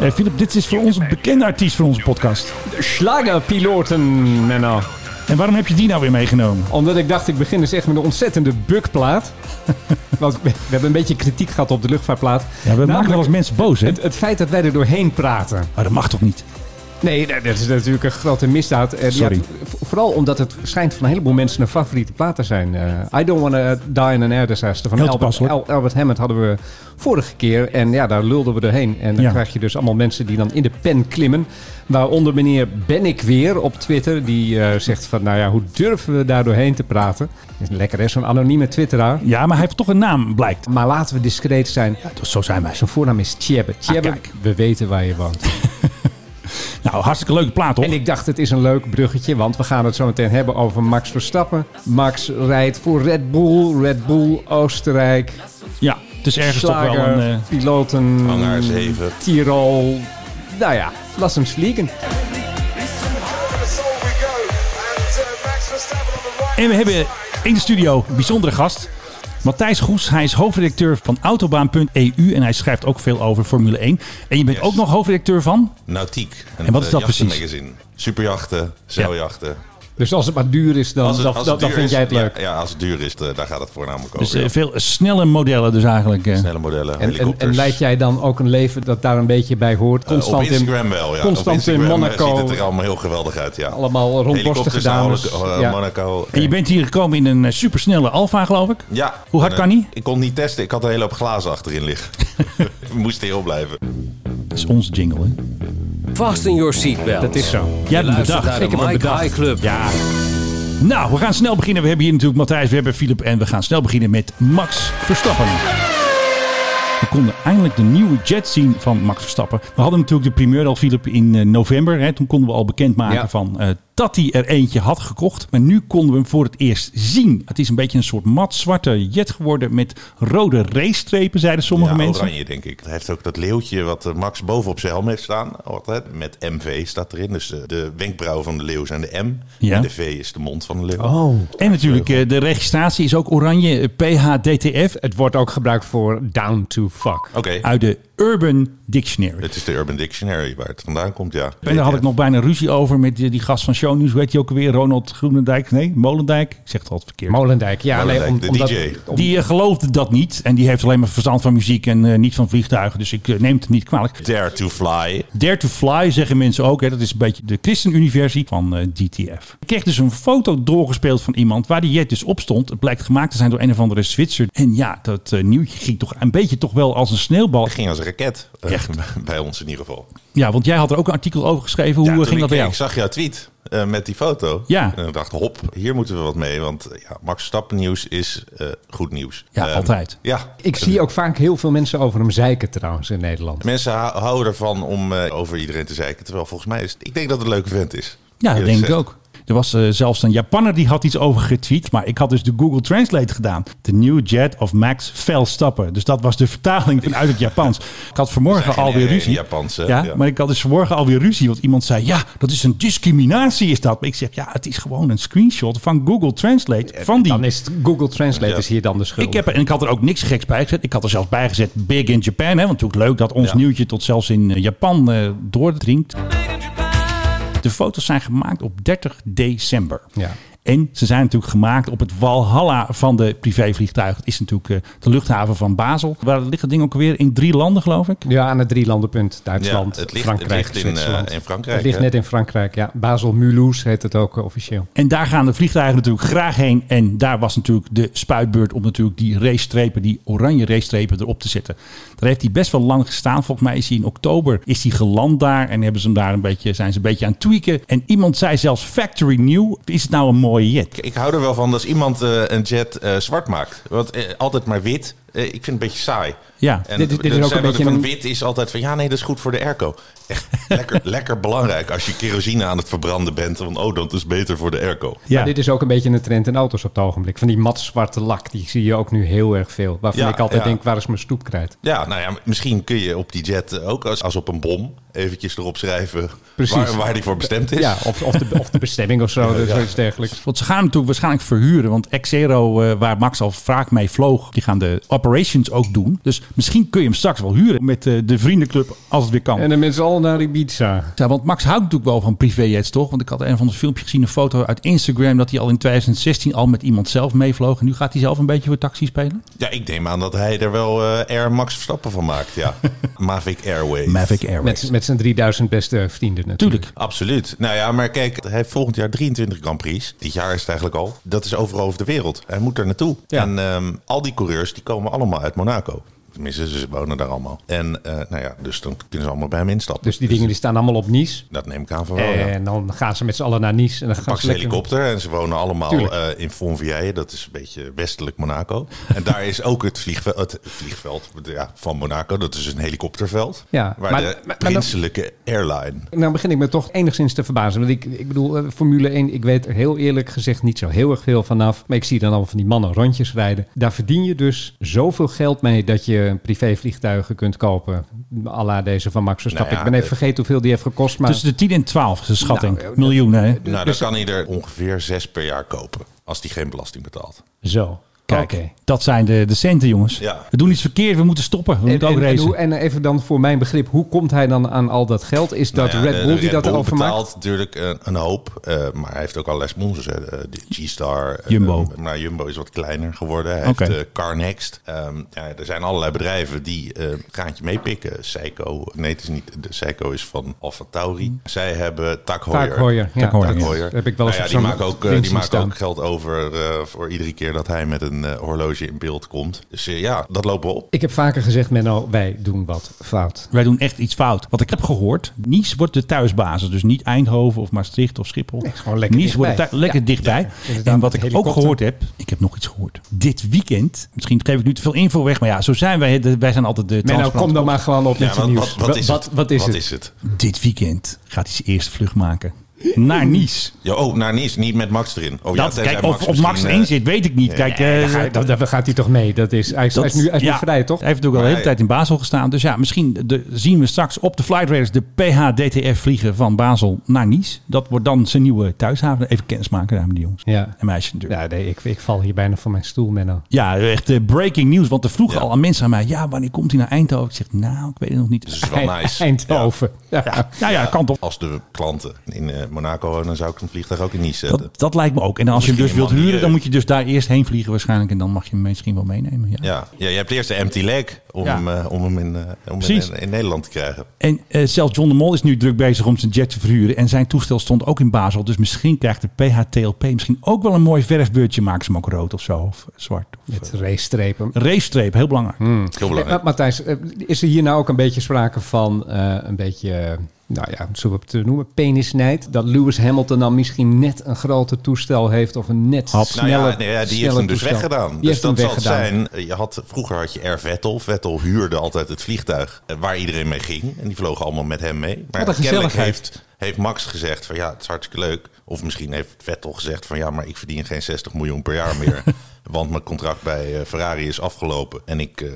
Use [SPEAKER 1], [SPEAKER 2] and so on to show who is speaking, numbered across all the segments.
[SPEAKER 1] Eh, Philip, dit is voor ons een bekende artiest van onze podcast.
[SPEAKER 2] Schlagerpiloten, Menno.
[SPEAKER 1] En waarom heb je die nou weer meegenomen?
[SPEAKER 2] Omdat ik dacht, ik begin dus echt met een ontzettende bukplaat. Want we hebben een beetje kritiek gehad op de luchtvaartplaat.
[SPEAKER 1] Ja, we maken wel eens
[SPEAKER 2] Namelijk
[SPEAKER 1] mensen boos, hè?
[SPEAKER 2] Nou, het, het feit dat wij er doorheen praten.
[SPEAKER 1] Maar dat mag toch niet?
[SPEAKER 2] Nee, dat dat is natuurlijk een grote misdaad. En
[SPEAKER 1] Sorry.
[SPEAKER 2] vo- vooral omdat het schijnt van een heleboel mensen een favoriete plaat te zijn. Eh, I Don't Wanna Die in an Air Disaster van
[SPEAKER 1] Heel
[SPEAKER 2] Albert,
[SPEAKER 1] toepasselijk.
[SPEAKER 2] Al- Albert Hammond hadden we vorige keer. En ja, daar lulden we doorheen. En dan
[SPEAKER 1] Ja.
[SPEAKER 2] krijg je dus allemaal mensen die dan in de pen klimmen. Waaronder meneer Ben ik weer op Twitter. Die eh, zegt van, nou ja, hoe durven we daar doorheen te praten? Is lekker hè, zo'n anonieme twitteraar.
[SPEAKER 1] Ja, maar hij heeft toch een naam, blijkt.
[SPEAKER 2] Maar laten we discreet zijn.
[SPEAKER 1] Dus zo zijn wij.
[SPEAKER 2] Zijn voornaam is Tjebbe. Tjebbe,
[SPEAKER 1] Ah, kijk.
[SPEAKER 2] we weten waar je woont.
[SPEAKER 1] Nou, hartstikke leuke plaat, toch?
[SPEAKER 2] En ik dacht, het is een leuk bruggetje, want we gaan het zo meteen hebben over Max Verstappen. Max rijdt voor Red Bull, Red Bull Oostenrijk,
[SPEAKER 1] Ja, het is ergens toch wel
[SPEAKER 2] Slager,
[SPEAKER 1] een... eh,
[SPEAKER 2] piloten,
[SPEAKER 3] Hangaar zeven.
[SPEAKER 2] Tirol. Nou ja, laat hem vliegen.
[SPEAKER 1] En we hebben in de studio een bijzondere gast. Matthijs Goes, hij is hoofdredacteur van autobaan.eu en hij schrijft ook veel over Formule 1. En je bent
[SPEAKER 3] Yes.
[SPEAKER 1] ook nog hoofdredacteur van?
[SPEAKER 3] Nautiek.
[SPEAKER 1] En wat is dat
[SPEAKER 3] eh,
[SPEAKER 1] precies?
[SPEAKER 3] jachtenmagazine. Superjachten, zeiljachten.
[SPEAKER 2] Dus als het maar duur is, dan, dan,
[SPEAKER 3] als
[SPEAKER 2] dan, dan
[SPEAKER 3] duur
[SPEAKER 2] vind
[SPEAKER 3] is-
[SPEAKER 2] jij het leuk.
[SPEAKER 3] Ja, ja, als het duur is, eh, daar gaat het voornamelijk over.
[SPEAKER 1] Dus eh,
[SPEAKER 3] ja.
[SPEAKER 1] veel snelle modellen dus eigenlijk. eh.
[SPEAKER 3] Snelle modellen,
[SPEAKER 2] En, en,
[SPEAKER 3] helikopters.
[SPEAKER 2] en leid jij dan ook een leven dat daar een beetje bij hoort?
[SPEAKER 3] Eh,
[SPEAKER 2] Constant
[SPEAKER 3] op Instagram wel, ja.
[SPEAKER 2] constant
[SPEAKER 3] op
[SPEAKER 2] in
[SPEAKER 3] Instagram, eh,
[SPEAKER 2] Monaco.
[SPEAKER 3] ziet het er allemaal heel geweldig uit, ja.
[SPEAKER 2] in allemaal rondborstige
[SPEAKER 3] Helikopters naar
[SPEAKER 2] dames.
[SPEAKER 3] Hol- eh,
[SPEAKER 2] Ja.
[SPEAKER 3] Monaco.
[SPEAKER 1] En je bent hier gekomen in een eh, supersnelle Alfa, geloof ik.
[SPEAKER 3] Ja.
[SPEAKER 1] Hoe hard
[SPEAKER 3] En,
[SPEAKER 1] kan
[SPEAKER 3] eh,
[SPEAKER 1] die?
[SPEAKER 3] Ik kon het niet testen. Ik had een hele hoop glazen achterin liggen. We moesten heel blijven.
[SPEAKER 1] Dat is ons jingle, hè?
[SPEAKER 4] Vast in your seatbelt.
[SPEAKER 2] Dat is zo.
[SPEAKER 1] Jij hebt hem
[SPEAKER 4] Luister naar
[SPEAKER 1] bedacht.
[SPEAKER 4] de Mike High Club.
[SPEAKER 1] Ja. Nou, we gaan snel beginnen. We hebben hier natuurlijk Matthijs, we hebben Filip en we gaan snel beginnen met Max Verstappen. We konden eindelijk de nieuwe jet zien van Max Verstappen. We hadden natuurlijk de primeur al, Filip, in eh, november. Hè. Toen konden we al bekendmaken
[SPEAKER 2] Ja.
[SPEAKER 1] van eh, dat hij er eentje had gekocht. Maar nu konden we hem voor het eerst zien. Het is een beetje een soort mat zwarte jet geworden met rode racestrepen, zeiden sommige
[SPEAKER 3] ja,
[SPEAKER 1] mensen.
[SPEAKER 3] oranje, denk ik. Hij heeft ook dat leeuwtje wat eh, Max bovenop zijn helm heeft staan. Altijd. Met MV staat erin. Dus de, de wenkbrauw van de leeuw zijn de M.
[SPEAKER 1] Ja. Oh.
[SPEAKER 3] En de V is de mond van de leeuw.
[SPEAKER 1] En natuurlijk, eh, de registratie is ook oranje, eh, PHDTF,
[SPEAKER 2] Het wordt ook gebruikt voor down to fuck.
[SPEAKER 3] Oké.
[SPEAKER 1] uit de Urban Dictionary.
[SPEAKER 3] Het is de Urban Dictionary waar het vandaan komt, ja.
[SPEAKER 1] En daar had ik nog bijna ruzie over met die, die gast van Show News. Hoe heet die ook alweer? Ronald Groenendijk? Nee, Molendijk? Ik zeg het altijd verkeerd.
[SPEAKER 2] Molendijk, ja.
[SPEAKER 3] Molendijk,
[SPEAKER 2] nee, om-
[SPEAKER 3] de
[SPEAKER 2] omdat-
[SPEAKER 3] DJ.
[SPEAKER 2] om-
[SPEAKER 1] die eh, geloofde dat niet. En die heeft alleen maar verstand van muziek en eh, niet van vliegtuigen. Dus ik eh, neem het niet kwalijk.
[SPEAKER 3] Dare to fly.
[SPEAKER 1] Dare to Fly zeggen mensen ook. Hè. Dat is een beetje de christenuniversie van eh, DTF. Ik kreeg dus een foto doorgespeeld van iemand waar die jet dus op stond. Het blijkt gemaakt te zijn door een of andere Zwitser. En ja, dat eh, nieuwtje ging toch een beetje toch wel als een sneeuwbal.
[SPEAKER 3] ging als een raket. Eh,
[SPEAKER 1] Echt?
[SPEAKER 3] bij ons in ieder geval.
[SPEAKER 1] Ja, want jij had er ook een artikel over geschreven. Hoe
[SPEAKER 3] Ja,
[SPEAKER 1] eh,
[SPEAKER 3] toen
[SPEAKER 1] ging dat bij
[SPEAKER 3] ik,
[SPEAKER 1] jou?
[SPEAKER 3] Ik zag jouw tweet eh, met die foto.
[SPEAKER 1] Ja.
[SPEAKER 3] En ik dacht, hop, hier moeten we wat mee. Want eh, ja, Max Verstappen nieuws is eh, goed nieuws.
[SPEAKER 1] Ja,
[SPEAKER 3] Eh,
[SPEAKER 1] altijd.
[SPEAKER 3] Ja.
[SPEAKER 2] Ik zie ook vaak heel veel mensen over hem zeiken trouwens in Nederland.
[SPEAKER 3] Mensen hou- houden ervan om eh, over iedereen te zeiken. Terwijl volgens mij is... Ik denk dat het een leuke vent is.
[SPEAKER 1] Ja, dat
[SPEAKER 3] Eerlijk
[SPEAKER 1] denk ik
[SPEAKER 3] gezegd.
[SPEAKER 1] ook. Er was eh, zelfs een Japanner die had iets over getweet, maar ik had dus de Google Translate gedaan. The new jet of Max Verstappen. Dus dat was de vertaling vanuit het Japans. Ik had vanmorgen
[SPEAKER 3] Dat zijn
[SPEAKER 1] alweer
[SPEAKER 3] geen, eh,
[SPEAKER 1] ruzie.
[SPEAKER 3] Japans, hè?
[SPEAKER 1] ja,
[SPEAKER 3] Ja.
[SPEAKER 1] maar ik had dus vanmorgen alweer ruzie, want iemand zei: ja, dat is een discriminatie is dat. Maar ik zeg: ja, het is gewoon een screenshot van Google Translate van die.
[SPEAKER 2] Dan is het Google Translate
[SPEAKER 3] Ja.
[SPEAKER 2] is hier dan de schuld.
[SPEAKER 1] Ik heb er, en ik had er ook niks geks bij gezet. Ik had er zelfs bij gezet Big in Japan. Hè, want natuurlijk leuk dat ons
[SPEAKER 3] Ja.
[SPEAKER 1] nieuwtje tot zelfs in eh, Japan eh, doordringt. De foto's zijn gemaakt op 30 december.
[SPEAKER 2] Ja.
[SPEAKER 1] En ze zijn natuurlijk gemaakt op het Walhalla van de privévliegtuigen. Het is natuurlijk eh, de luchthaven van Basel. Waar ligt het ding ook weer? In drie landen, geloof ik.
[SPEAKER 2] Ja, aan het drielandenpunt. Duitsland,
[SPEAKER 3] Ja, het ligt-
[SPEAKER 2] Frankrijk,
[SPEAKER 3] het ligt in,
[SPEAKER 2] Zwitserland.
[SPEAKER 3] eh, in Frankrijk,
[SPEAKER 2] Het ligt
[SPEAKER 3] hè?
[SPEAKER 2] net in Frankrijk, ja. Basel Mulhouse heet het ook eh, officieel.
[SPEAKER 1] En daar gaan de vliegtuigen natuurlijk graag heen. En daar was natuurlijk de spuitbeurt om natuurlijk die racestrepen, die oranje racestrepen erop te zetten. Daar heeft hij best wel lang gestaan. Volgens mij is hij in oktober is hij geland daar en hebben ze hem daar een beetje, zijn ze een beetje aan het tweaken. En iemand zei zelfs factory new. Is het nou een mooie jet?
[SPEAKER 3] Ik, ik hou er wel van als iemand eh, een jet eh, zwart maakt. Want eh, altijd maar wit. eh, ik vind het een beetje saai.
[SPEAKER 1] Ja.
[SPEAKER 3] En
[SPEAKER 2] Dit- dit- dit
[SPEAKER 3] er
[SPEAKER 2] is ook
[SPEAKER 3] zijn
[SPEAKER 2] een
[SPEAKER 3] wat-
[SPEAKER 2] beetje
[SPEAKER 3] van
[SPEAKER 2] een-
[SPEAKER 3] wit is altijd van ja, nee, dat is goed voor de airco. Echt lekker, lekker belangrijk als je kerosine aan het verbranden bent. Want oh, dat is beter voor de airco.
[SPEAKER 2] Maar dit is ook een beetje een trend in auto's op het ogenblik. Van die matzwarte lak, die zie je ook nu heel erg veel. Waarvan
[SPEAKER 3] Ja,
[SPEAKER 2] ik altijd
[SPEAKER 3] ja.
[SPEAKER 2] denk, waar is mijn stoepkrijt?
[SPEAKER 3] Ja, nou ja, misschien kun je op die jet eh, ook als, als op een bom eventjes erop schrijven
[SPEAKER 2] Precies.
[SPEAKER 3] waar, waar die voor bestemd is.
[SPEAKER 2] Ja, of, of, de, of de bestemming of zo, dus
[SPEAKER 3] Ja, ja.
[SPEAKER 2] zoiets dergelijks.
[SPEAKER 1] Want ze gaan hem natuurlijk waarschijnlijk verhuren. Want Xero, eh, waar Max al vaak mee vloog, die gaan de collaborations ook doen. Dus misschien kun je hem straks wel huren met eh, de vriendenclub als het weer kan.
[SPEAKER 2] En dan met z'n allen naar Ibiza.
[SPEAKER 1] Ja, want Max houdt natuurlijk wel van privéjets, toch? Want ik had een van ons filmpjes gezien, een foto uit Instagram... dat hij al in 2016 al met iemand zelf meevloog. En nu gaat hij zelf een beetje voor taxi spelen?
[SPEAKER 3] Ja, ik neem aan dat hij er wel eh, Air Max Verstappen van maakt, ja. Mavic Airways.
[SPEAKER 1] Mavic Airways.
[SPEAKER 2] Met, met zijn 3000 beste vrienden natuurlijk.
[SPEAKER 1] Tuurlijk.
[SPEAKER 3] Absoluut. Nou ja, maar kijk, hij heeft volgend jaar 23 Grand Prix. Dit jaar is het eigenlijk al. Dat is overal over de wereld. Hij moet daar naartoe.
[SPEAKER 2] Ja.
[SPEAKER 3] En ehm, al die coureurs, die komen allemaal uit Monaco. Tenminste, ze wonen daar allemaal. En eh, nou ja, dus dan kunnen ze allemaal bij hem instappen.
[SPEAKER 2] Dus die dingen die staan allemaal op Nice.
[SPEAKER 3] Dat neem ik aan van wel, Oh, ja.
[SPEAKER 2] En dan gaan ze met z'n allen naar Nice. En dan gaan
[SPEAKER 3] Pak
[SPEAKER 2] ze
[SPEAKER 3] ze
[SPEAKER 2] lekker...
[SPEAKER 3] helikopter en ze wonen allemaal
[SPEAKER 2] Tuurlijk.
[SPEAKER 3] eh, in Fontvieille. Dat is een beetje westelijk Monaco. En daar is ook het vliegveld, het vliegveld ja, van Monaco. Dat is een helikopterveld.
[SPEAKER 2] Ja,
[SPEAKER 3] waar
[SPEAKER 2] maar-
[SPEAKER 3] de
[SPEAKER 2] maar- maar dan-
[SPEAKER 3] prinselijke airline...
[SPEAKER 2] Nou begin ik me toch enigszins te verbazen. Want ik, ik bedoel, eh, Formule 1, ik weet er heel eerlijk gezegd niet zo heel erg veel vanaf. Maar ik zie dan allemaal van die mannen rondjes rijden. Daar verdien je dus zoveel geld mee dat je privévliegtuigen kunt kopen. à la deze van Max Verstappen.
[SPEAKER 3] Nou ja,
[SPEAKER 2] ik ben even
[SPEAKER 3] eh,
[SPEAKER 2] vergeten hoeveel die heeft gekost. Maar
[SPEAKER 1] Tussen de 10 en 12 is de schatting.
[SPEAKER 2] Nou, eh,
[SPEAKER 1] Miljoenen, hè?
[SPEAKER 3] nou, dan kan hij er ongeveer zes per jaar kopen. Als hij geen belasting betaalt.
[SPEAKER 2] zo,
[SPEAKER 1] Kijk,
[SPEAKER 2] kijk.
[SPEAKER 1] dat zijn de, de centen, jongens.
[SPEAKER 3] Ja.
[SPEAKER 1] We doen iets verkeerd, we moeten stoppen. We moeten ook
[SPEAKER 2] en,
[SPEAKER 1] racen.
[SPEAKER 2] hoe- en even dan voor mijn begrip, hoe komt hij dan aan al dat geld? Is dat
[SPEAKER 3] Nou ja,
[SPEAKER 2] Red
[SPEAKER 3] de-
[SPEAKER 2] Bull
[SPEAKER 3] de
[SPEAKER 2] die dat
[SPEAKER 3] Bull
[SPEAKER 2] erover maakt?
[SPEAKER 3] betaalt natuurlijk een, een hoop. eh, maar hij heeft ook allerlei sponsors. hè. De- de G-Star. eh,
[SPEAKER 1] Jumbo.
[SPEAKER 3] eh, nou, Jumbo is wat kleiner geworden. Hij
[SPEAKER 1] Oké.
[SPEAKER 3] heeft eh, CarNext. Ehm, ja, er zijn allerlei bedrijven die eh, een graantje meepikken. Seiko. Nee, het is niet. De Seiko is van Alfa Tauri. Zij hebben Tak Heuer.
[SPEAKER 2] Taak Hoyer. Ja.
[SPEAKER 1] Tak Heuer.
[SPEAKER 3] Tak
[SPEAKER 1] Ja.
[SPEAKER 3] Heuer.
[SPEAKER 2] Heb ik wel eens
[SPEAKER 3] Nou ja,
[SPEAKER 2] op
[SPEAKER 3] die
[SPEAKER 2] zo'n
[SPEAKER 3] maken ook, eh,
[SPEAKER 2] ding
[SPEAKER 3] die
[SPEAKER 2] zien
[SPEAKER 3] maken ook
[SPEAKER 2] staan.
[SPEAKER 3] geld over eh, voor iedere keer dat hij met een eh, horloge in beeld komt. Dus eh, ja, dat lopen we op.
[SPEAKER 2] Ik heb vaker gezegd, Menno, wij doen wat fout.
[SPEAKER 1] Wij doen echt iets fout. Wat ik heb gehoord, Nice wordt de thuisbasis. Dus niet Eindhoven of Maastricht of Schiphol.
[SPEAKER 2] Nee, gewoon lekker
[SPEAKER 1] Nice wordt
[SPEAKER 2] dichtbij.
[SPEAKER 1] de thu- lekker
[SPEAKER 2] Ja,
[SPEAKER 1] dichtbij.
[SPEAKER 2] inderdaad,
[SPEAKER 1] en wat ik
[SPEAKER 2] met
[SPEAKER 1] ook
[SPEAKER 2] helikopter.
[SPEAKER 1] gehoord heb, ik heb nog iets gehoord. Dit weekend, misschien geef ik nu te veel info weg, maar ja, zo zijn wij. de- Wij zijn altijd de
[SPEAKER 2] Menno, kom
[SPEAKER 1] transparante-
[SPEAKER 2] dan maar gewoon op met
[SPEAKER 3] Ja,
[SPEAKER 2] je
[SPEAKER 3] wat,
[SPEAKER 2] nieuws.
[SPEAKER 3] wat, wat is
[SPEAKER 2] Wat-
[SPEAKER 3] het?
[SPEAKER 2] wat is het?
[SPEAKER 1] Dit weekend gaat hij zijn eerste vlucht maken. Naar Nice.
[SPEAKER 3] Ja, oh, naar Nice, niet met Max erin. Oh, ja,
[SPEAKER 1] Dat,
[SPEAKER 3] tenzij
[SPEAKER 1] kijk, of, of
[SPEAKER 3] misschien,
[SPEAKER 1] Max
[SPEAKER 3] eh,
[SPEAKER 1] erin zit, weet ik niet. Kijk, eh,
[SPEAKER 2] Daar ga- dan- dan gaat hij toch mee? Dat is, hij, is, hij is nu, hij is nu
[SPEAKER 1] ja,
[SPEAKER 2] vrij, toch?
[SPEAKER 1] Hij heeft natuurlijk al de hele
[SPEAKER 3] Maar hij-
[SPEAKER 1] tijd in Basel gestaan. Dus ja, misschien de, zien we straks op de Flight Raiders de PHDTF vliegen van Basel naar Nice. Dat wordt dan zijn nieuwe thuishaven. Even kennismaken daar met die jongens.
[SPEAKER 2] Ja.
[SPEAKER 1] En meisjes natuurlijk.
[SPEAKER 2] Ja, nee, ik, ik val hier bijna van mijn stoel, Menno.
[SPEAKER 1] Ja, echt eh, breaking news. Want er vroegen
[SPEAKER 3] Ja.
[SPEAKER 1] al aan mensen aan mij, ja, wanneer komt hij naar Eindhoven? Ik zeg, nou, ik weet het nog niet.
[SPEAKER 3] Dus is wel
[SPEAKER 2] Eind-
[SPEAKER 3] nice.
[SPEAKER 2] Eindhoven. Ja.
[SPEAKER 1] Ja, nou ja, kan toch.
[SPEAKER 3] Als de klanten in eh, Monaco wonen, dan zou ik een vliegtuig ook in Nice zetten.
[SPEAKER 1] Dat, dat lijkt me ook. En dan als je hem dus
[SPEAKER 3] Misschien
[SPEAKER 1] wilt
[SPEAKER 3] helemaal
[SPEAKER 1] huren, dan
[SPEAKER 3] niet,
[SPEAKER 1] moet je dus daar eerst heen vliegen waarschijnlijk. En dan mag je hem misschien wel meenemen. Ja.
[SPEAKER 3] ja. ja, je hebt eerst de empty leg om,
[SPEAKER 1] Ja.
[SPEAKER 3] hem, eh, om hem in, eh, om hem
[SPEAKER 1] Precies.
[SPEAKER 3] in, in Nederland te krijgen.
[SPEAKER 1] En eh, zelfs John de Mol is nu druk bezig om zijn jet te verhuren. En zijn toestel stond ook in Basel. Dus misschien krijgt de PHTLP misschien ook wel een mooi verfbeurtje. Maak ze hem ook rood of zo. Of zwart. Of,
[SPEAKER 2] Met racestrepen.
[SPEAKER 1] eh, racestreep, heel belangrijk.
[SPEAKER 3] Heel belangrijk.
[SPEAKER 2] Eh, Matthijs, eh, is er hier nou ook een beetje sprake van eh, een beetje, eh, nou ja, hoe zullen we het noemen, penisnijd? Dat Lewis Hamilton dan misschien net een groter toestel heeft of een net
[SPEAKER 1] Hap.
[SPEAKER 2] sneller
[SPEAKER 3] nou ja, nee, ja, die heeft
[SPEAKER 2] sneller
[SPEAKER 3] hem dus
[SPEAKER 2] toestel.
[SPEAKER 3] weggedaan.
[SPEAKER 2] Die
[SPEAKER 3] dus
[SPEAKER 2] heeft hem
[SPEAKER 3] dat zal het
[SPEAKER 2] weggedaan.
[SPEAKER 3] zijn. eh, Je had, vroeger had je Air Vettel. Vettel huurde altijd het vliegtuig eh, waar iedereen mee ging. En die vlogen allemaal met hem mee. Maar
[SPEAKER 2] Wat een
[SPEAKER 3] kennelijk
[SPEAKER 2] gezelligheid.
[SPEAKER 3] heeft, heeft Max gezegd van ja, het is hartstikke leuk. Of misschien heeft Vettel gezegd van ja, maar ik verdien geen 60 miljoen per jaar meer. Want mijn contract bij eh, Ferrari is afgelopen en ik eh,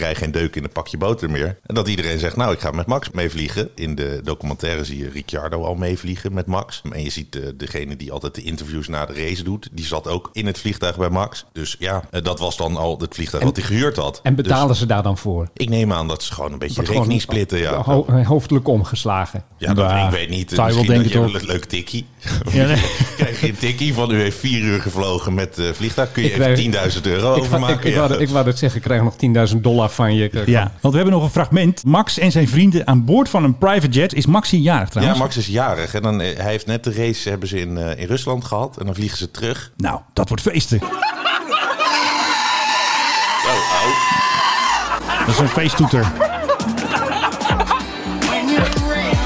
[SPEAKER 3] rij geen deuk in een pakje boter meer. En dat iedereen zegt, nou, ik ga met Max meevliegen. In de documentaire zie je Ricciardo al meevliegen met Max. En je ziet eh, degene die altijd de interviews na de race doet, die zat ook in het vliegtuig bij Max. Dus ja, eh, dat was dan al het vliegtuig wat hij gehuurd had.
[SPEAKER 2] En
[SPEAKER 3] Dus
[SPEAKER 2] betalen ze daar dan voor?
[SPEAKER 3] ik neem aan dat ze gewoon een beetje
[SPEAKER 2] Wordt gewoon
[SPEAKER 3] rekening splitten. Ja.
[SPEAKER 2] ho- hoofdelijk omgeslagen.
[SPEAKER 3] Ja, dat,
[SPEAKER 1] Ja,
[SPEAKER 3] ik weet niet.
[SPEAKER 1] Oh. zou je wel
[SPEAKER 3] Misschien
[SPEAKER 1] denken,
[SPEAKER 3] dat je
[SPEAKER 1] toch?
[SPEAKER 3] een leuk tikkie.
[SPEAKER 1] Ja, nee.
[SPEAKER 3] Krijg je een tikkie van u heeft vier uur gevlogen met eh vliegtuig. Kun je
[SPEAKER 2] Ik krijg-
[SPEAKER 3] even 10.000 euro
[SPEAKER 2] Ik, wou-
[SPEAKER 3] overmaken?
[SPEAKER 2] ik, ik,
[SPEAKER 3] Ja.
[SPEAKER 2] wou, dat- ik wou dat zeggen, ik krijg nog 10.000 dollar van je. Ik, eh,
[SPEAKER 1] Ja, want we hebben nog een fragment. Max en zijn vrienden aan boord van een private jet. Is Max jarig
[SPEAKER 3] Ja,
[SPEAKER 1] trouwens?
[SPEAKER 3] Max is jarig. En dan, eh, hij heeft net de race hebben ze in, eh, in Rusland gehad. En dan vliegen ze terug.
[SPEAKER 1] Nou, dat wordt feesten.
[SPEAKER 3] Oh, oh.
[SPEAKER 1] Dat is een feesttoeter.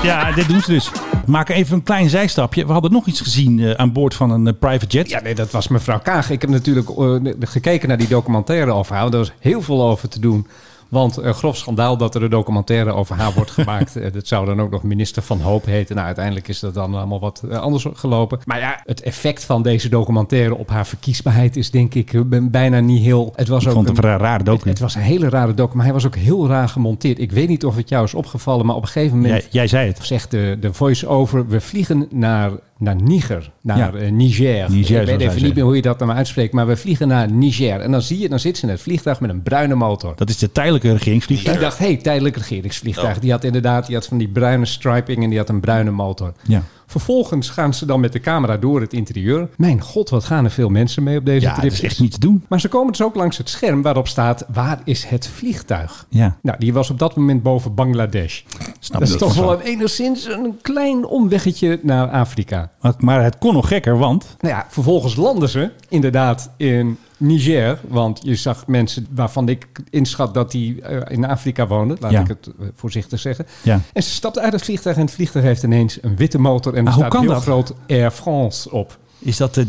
[SPEAKER 1] Ja, dit doen ze dus. Maak even een klein zijstapje. We hadden nog iets gezien eh, aan boord van een eh, private jet.
[SPEAKER 2] Ja, nee, dat was mevrouw Kaag. Ik heb natuurlijk eh, de- gekeken naar die documentaire over haar. want Er was heel veel over te doen. Want een grof schandaal dat er een documentaire over haar wordt gemaakt. Eh, dat zou dan ook nog minister van Hoop heten. Nou, uiteindelijk is dat dan allemaal wat eh, anders gelopen. Maar ja, het effect van deze documentaire op haar verkiesbaarheid is denk ik eh, ben- bijna niet heel... Het was
[SPEAKER 1] Ik
[SPEAKER 2] ook
[SPEAKER 1] vond
[SPEAKER 2] een-
[SPEAKER 1] het een raar- raar docu.
[SPEAKER 2] Het was een hele rare docu, maar hij was ook heel raar gemonteerd. Ik weet niet of het jou is opgevallen, maar op een gegeven moment
[SPEAKER 1] Jij, jij zei het.
[SPEAKER 2] zegt de, de voice-over... we vliegen naar naar Niger, naar
[SPEAKER 1] Ja.
[SPEAKER 2] eh, Niger.
[SPEAKER 1] Niger,
[SPEAKER 2] Ik
[SPEAKER 1] zo
[SPEAKER 2] weet
[SPEAKER 1] zou
[SPEAKER 2] even
[SPEAKER 1] je
[SPEAKER 2] niet meer hoe je dat nou maar uitspreekt, maar we vliegen naar Niger. En dan zie je, dan zit ze in het vliegtuig met een bruine motor.
[SPEAKER 1] Dat is de tijdelijke regeringsvliegtuig.
[SPEAKER 2] Ik dacht, hé, hey, tijdelijk regeringsvliegtuig.
[SPEAKER 3] Oh.
[SPEAKER 2] Die had inderdaad die had van die bruine striping en die had een bruine motor.
[SPEAKER 1] Ja.
[SPEAKER 2] Vervolgens gaan ze dan met de camera door het interieur. Mijn god, wat gaan er veel mensen mee op deze
[SPEAKER 1] Ja, dat
[SPEAKER 2] trip.
[SPEAKER 1] is echt niet te doen.
[SPEAKER 2] Maar ze komen dus ook langs het scherm waarop staat, waar is het vliegtuig?
[SPEAKER 1] Ja,
[SPEAKER 2] Nou, die was op dat moment boven Bangladesh.
[SPEAKER 1] snap
[SPEAKER 2] dat
[SPEAKER 1] je
[SPEAKER 2] is
[SPEAKER 1] Nou, dat
[SPEAKER 2] toch wel
[SPEAKER 1] wel.
[SPEAKER 2] een, enigszins een klein omweggetje naar Afrika.
[SPEAKER 1] Maar- Maar het kon nog gekker, want...
[SPEAKER 2] Nou ja, vervolgens landen ze inderdaad in Niger. Want je zag mensen waarvan ik inschat dat die eh, in Afrika woonden. Laat
[SPEAKER 1] Ja.
[SPEAKER 2] ik het eh, voorzichtig zeggen.
[SPEAKER 1] Ja.
[SPEAKER 2] En ze stapt uit het vliegtuig en het vliegtuig heeft ineens een witte motor. En er
[SPEAKER 1] Maar Ah, hoe
[SPEAKER 2] staat
[SPEAKER 1] kan
[SPEAKER 2] heel
[SPEAKER 1] dat?
[SPEAKER 2] groot Air France op.
[SPEAKER 1] Is dat eh, de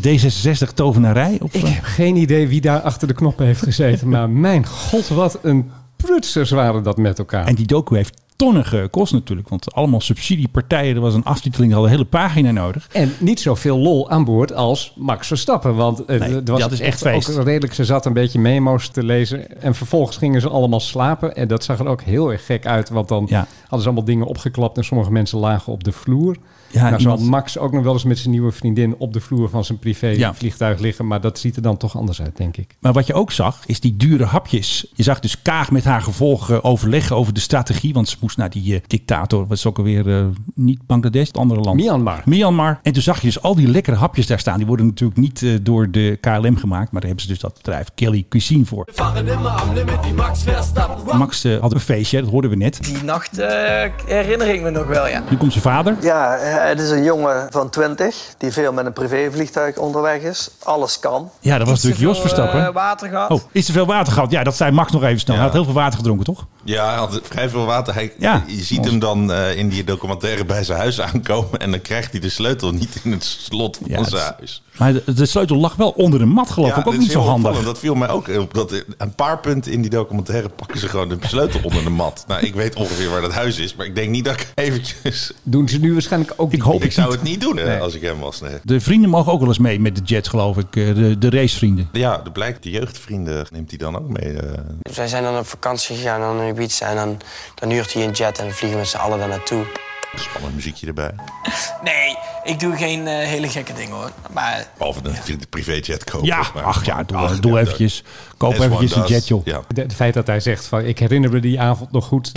[SPEAKER 1] D66-tovenarij? Of,
[SPEAKER 2] Ik
[SPEAKER 1] eh,
[SPEAKER 2] heb geen idee wie daar achter de knoppen heeft gezeten. maar mijn god, wat een prutsers waren dat met elkaar.
[SPEAKER 1] En die docu heeft tonnen gekost natuurlijk. Want allemaal subsidiepartijen, er was een aftiteling, hadden een hele pagina nodig.
[SPEAKER 2] En niet zoveel lol aan boord als Max Verstappen. Want eh,
[SPEAKER 1] Nee,
[SPEAKER 2] het was
[SPEAKER 1] dat is echt
[SPEAKER 2] ook
[SPEAKER 1] feest.
[SPEAKER 2] redelijk. Ze zat een beetje memo's te lezen. En vervolgens gingen ze allemaal slapen. En dat zag er ook heel erg gek uit. Want dan
[SPEAKER 1] Ja.
[SPEAKER 2] hadden ze allemaal dingen opgeklapt. En sommige mensen lagen op de vloer.
[SPEAKER 1] Ja,
[SPEAKER 2] nou,
[SPEAKER 1] iemand-
[SPEAKER 2] zal Max ook nog wel eens met zijn nieuwe vriendin op de vloer van zijn privé
[SPEAKER 1] Ja.
[SPEAKER 2] vliegtuig liggen. Maar dat ziet er dan toch anders uit, denk ik.
[SPEAKER 1] Maar wat je ook zag, is die dure hapjes. Je zag dus Kaag met haar gevolgen overleggen over de strategie. Want ze moest naar die eh, dictator, wat is ook alweer eh, niet Bangladesh, het andere land.
[SPEAKER 2] Myanmar.
[SPEAKER 1] Myanmar. En toen zag je dus al die lekkere hapjes daar staan. Die worden natuurlijk niet eh, door de KLM gemaakt, maar daar hebben ze dus dat bedrijf Kelly Cuisine voor.
[SPEAKER 5] fahren immer am Limit wie Max Verstappen.
[SPEAKER 1] Max eh, had een feestje, dat hoorden we net.
[SPEAKER 6] Die nacht eh, herinner ik me nog wel, ja.
[SPEAKER 1] Nu komt zijn vader.
[SPEAKER 7] Ja, eh, het is een jongen van 20 die veel met een privévliegtuig onderweg is. Alles kan.
[SPEAKER 1] Ja, dat was natuurlijk
[SPEAKER 6] Iets te
[SPEAKER 1] Jos
[SPEAKER 6] veel, eh,
[SPEAKER 1] Verstappen.
[SPEAKER 6] water gehad.
[SPEAKER 1] Oh, is er veel water gehad? Ja, dat zei Max nog even snel. Hij had heel veel water gedronken, toch?
[SPEAKER 3] Ja, hij had vrij veel water. Hij,
[SPEAKER 1] Ja.
[SPEAKER 3] Je ziet hem dan eh, in die documentaire bij zijn huis aankomen. En dan krijgt hij de sleutel niet in het slot van
[SPEAKER 1] Ja, het-
[SPEAKER 3] zijn huis.
[SPEAKER 1] Maar de, de sleutel lag wel onder de mat, geloof ik.
[SPEAKER 3] dat
[SPEAKER 1] Ook
[SPEAKER 3] is
[SPEAKER 1] niet zo
[SPEAKER 3] heel
[SPEAKER 1] handig.
[SPEAKER 3] opvallend. Dat viel mij ook eh, op. Dat er een paar punten in die documentaire pakken ze gewoon de sleutel onder de mat. Nou, ik weet ongeveer waar dat huis is. Maar ik denk niet dat ik eventjes...
[SPEAKER 2] Doen ze nu waarschijnlijk ook
[SPEAKER 1] Ik
[SPEAKER 2] niet
[SPEAKER 1] hoop
[SPEAKER 2] meer.
[SPEAKER 3] Ik zou het niet doen hè,
[SPEAKER 2] Nee.
[SPEAKER 3] als ik hem was. Nee.
[SPEAKER 1] De vrienden mogen ook wel eens mee met de Jets, geloof ik. eh, De, de racevrienden.
[SPEAKER 3] Ja, dat blijkt. De jeugdvrienden neemt hij dan ook mee. eh.
[SPEAKER 8] Zij zijn dan op vakantie gegaan aan Ibiza en dan, dan huurt hij een jet en vliegen met z'n allen daar naartoe.
[SPEAKER 3] spannend muziekje erbij.
[SPEAKER 6] Nee, ik doe geen eh, hele gekke dingen hoor. Maar
[SPEAKER 3] Behalve dat natuurlijk de privéjet kopen.
[SPEAKER 1] Ja,
[SPEAKER 3] maar-
[SPEAKER 1] ach ja, doe,
[SPEAKER 3] Ach,
[SPEAKER 1] doe
[SPEAKER 3] ja,
[SPEAKER 1] eventjes. Koop
[SPEAKER 3] dat- as one
[SPEAKER 1] eventjes een
[SPEAKER 3] does.
[SPEAKER 1] jet, joh.
[SPEAKER 3] Ja.
[SPEAKER 2] De- Het feit dat hij zegt van ik herinner me die avond nog goed.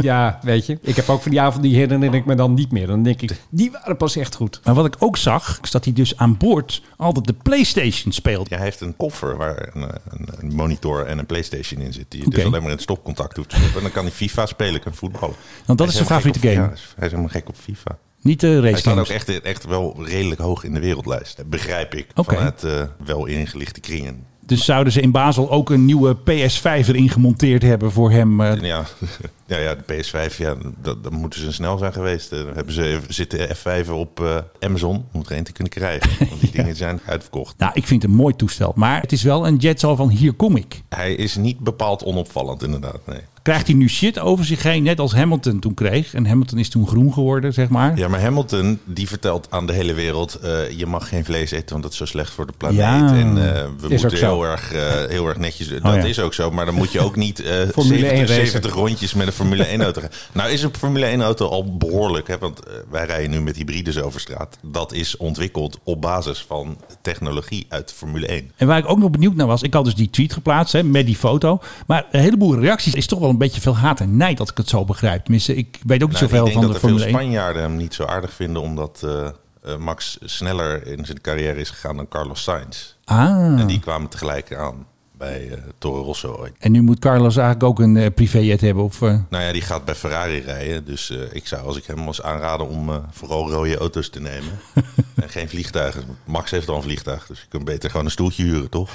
[SPEAKER 2] ja, weet je. Ik heb ook van die avond die herinner ik me dan niet meer. Dan denk ik, die waren pas echt goed.
[SPEAKER 1] Maar wat ik ook zag, is dat hij dus aan boord altijd de PlayStation speelt.
[SPEAKER 3] Ja, hij heeft een koffer waar een, eh, een, een monitor en een Playstation in zit. Die je
[SPEAKER 1] Oké.
[SPEAKER 3] dus alleen maar in het stopcontact hoeft te stoppen. En dan kan hij FIFA spelen, kan voetballen.
[SPEAKER 1] Want dat
[SPEAKER 3] Hij
[SPEAKER 1] is zijn
[SPEAKER 3] helemaal gek
[SPEAKER 1] favoriete game.
[SPEAKER 3] op- ja, hij is- hij is helemaal gek op FIFA.
[SPEAKER 1] Niet de
[SPEAKER 3] Hij staat ook
[SPEAKER 1] racegames.
[SPEAKER 3] echt, echt wel redelijk hoog in de wereldlijst. Begrijp ik.
[SPEAKER 1] Oké.
[SPEAKER 3] Vanuit eh, wel ingelichte kringen.
[SPEAKER 1] Dus zouden ze in Basel ook een nieuwe PS5 erin gemonteerd hebben voor hem? eh,
[SPEAKER 3] En Ja, ja, ja de PS5, ja, dat, dan moeten ze snel zijn geweest. Eh, hebben ze even- zitten F5 op eh, Amazon om er een te kunnen krijgen. Want die dingen zijn uitverkocht.
[SPEAKER 1] Nou, ik vind het een mooi toestel. Maar het is wel een jet zo van hier kom ik.
[SPEAKER 3] Hij is niet bepaald onopvallend, inderdaad. Nee.
[SPEAKER 1] Krijgt hij nu shit over zich heen, net als Hamilton toen kreeg. En Hamilton is toen groen geworden, zeg maar.
[SPEAKER 3] Ja, maar Hamilton die vertelt aan de hele wereld: eh, je mag geen vlees eten, want dat is zo slecht voor de planeet.
[SPEAKER 1] Ja.
[SPEAKER 3] En eh, we
[SPEAKER 2] ook
[SPEAKER 3] moeten
[SPEAKER 2] zo.
[SPEAKER 3] heel erg, eh, heel erg netjes. doen.
[SPEAKER 1] Oh,
[SPEAKER 3] dat
[SPEAKER 1] ja.
[SPEAKER 3] is ook zo, maar dan moet je ook niet eh,
[SPEAKER 2] Formule 1
[SPEAKER 3] 70,
[SPEAKER 2] racer.
[SPEAKER 3] 70 rondjes met een Formule 1 auto gaan. Nou is een Formule 1 auto al behoorlijk, hè, want eh, wij rijden nu met hybrides over straat. Dat is ontwikkeld op basis van technologie uit Formule 1.
[SPEAKER 1] En waar ik ook nog benieuwd naar was, ik had dus die tweet geplaatst hè, met die foto. Maar een heleboel reacties is toch wel een beetje veel haat en nijd, als ik het zo begrijp. Tenminste, ik weet ook niet
[SPEAKER 3] Nou, ik
[SPEAKER 1] zoveel
[SPEAKER 3] denk
[SPEAKER 1] van
[SPEAKER 3] dat
[SPEAKER 1] de
[SPEAKER 3] er veel
[SPEAKER 1] Formule 1.
[SPEAKER 3] Spanjaarden hem niet zo aardig vinden, omdat eh, eh, Max sneller in zijn carrière is gegaan dan Carlos Sainz.
[SPEAKER 1] Ah,
[SPEAKER 2] Mm.
[SPEAKER 3] En die kwamen tegelijk aan bij eh Toro Rosso ooit.
[SPEAKER 1] en nu moet Carlos eigenlijk ook een eh, privéjet hebben. Of, eh,
[SPEAKER 3] Nou ja, die gaat bij Ferrari rijden. Dus eh, ik zou als ik hem was aanraden om eh, vooral rode auto's te nemen. en geen vliegtuigen. Max heeft al een vliegtuig, dus je kunt beter gewoon een stoeltje huren, toch?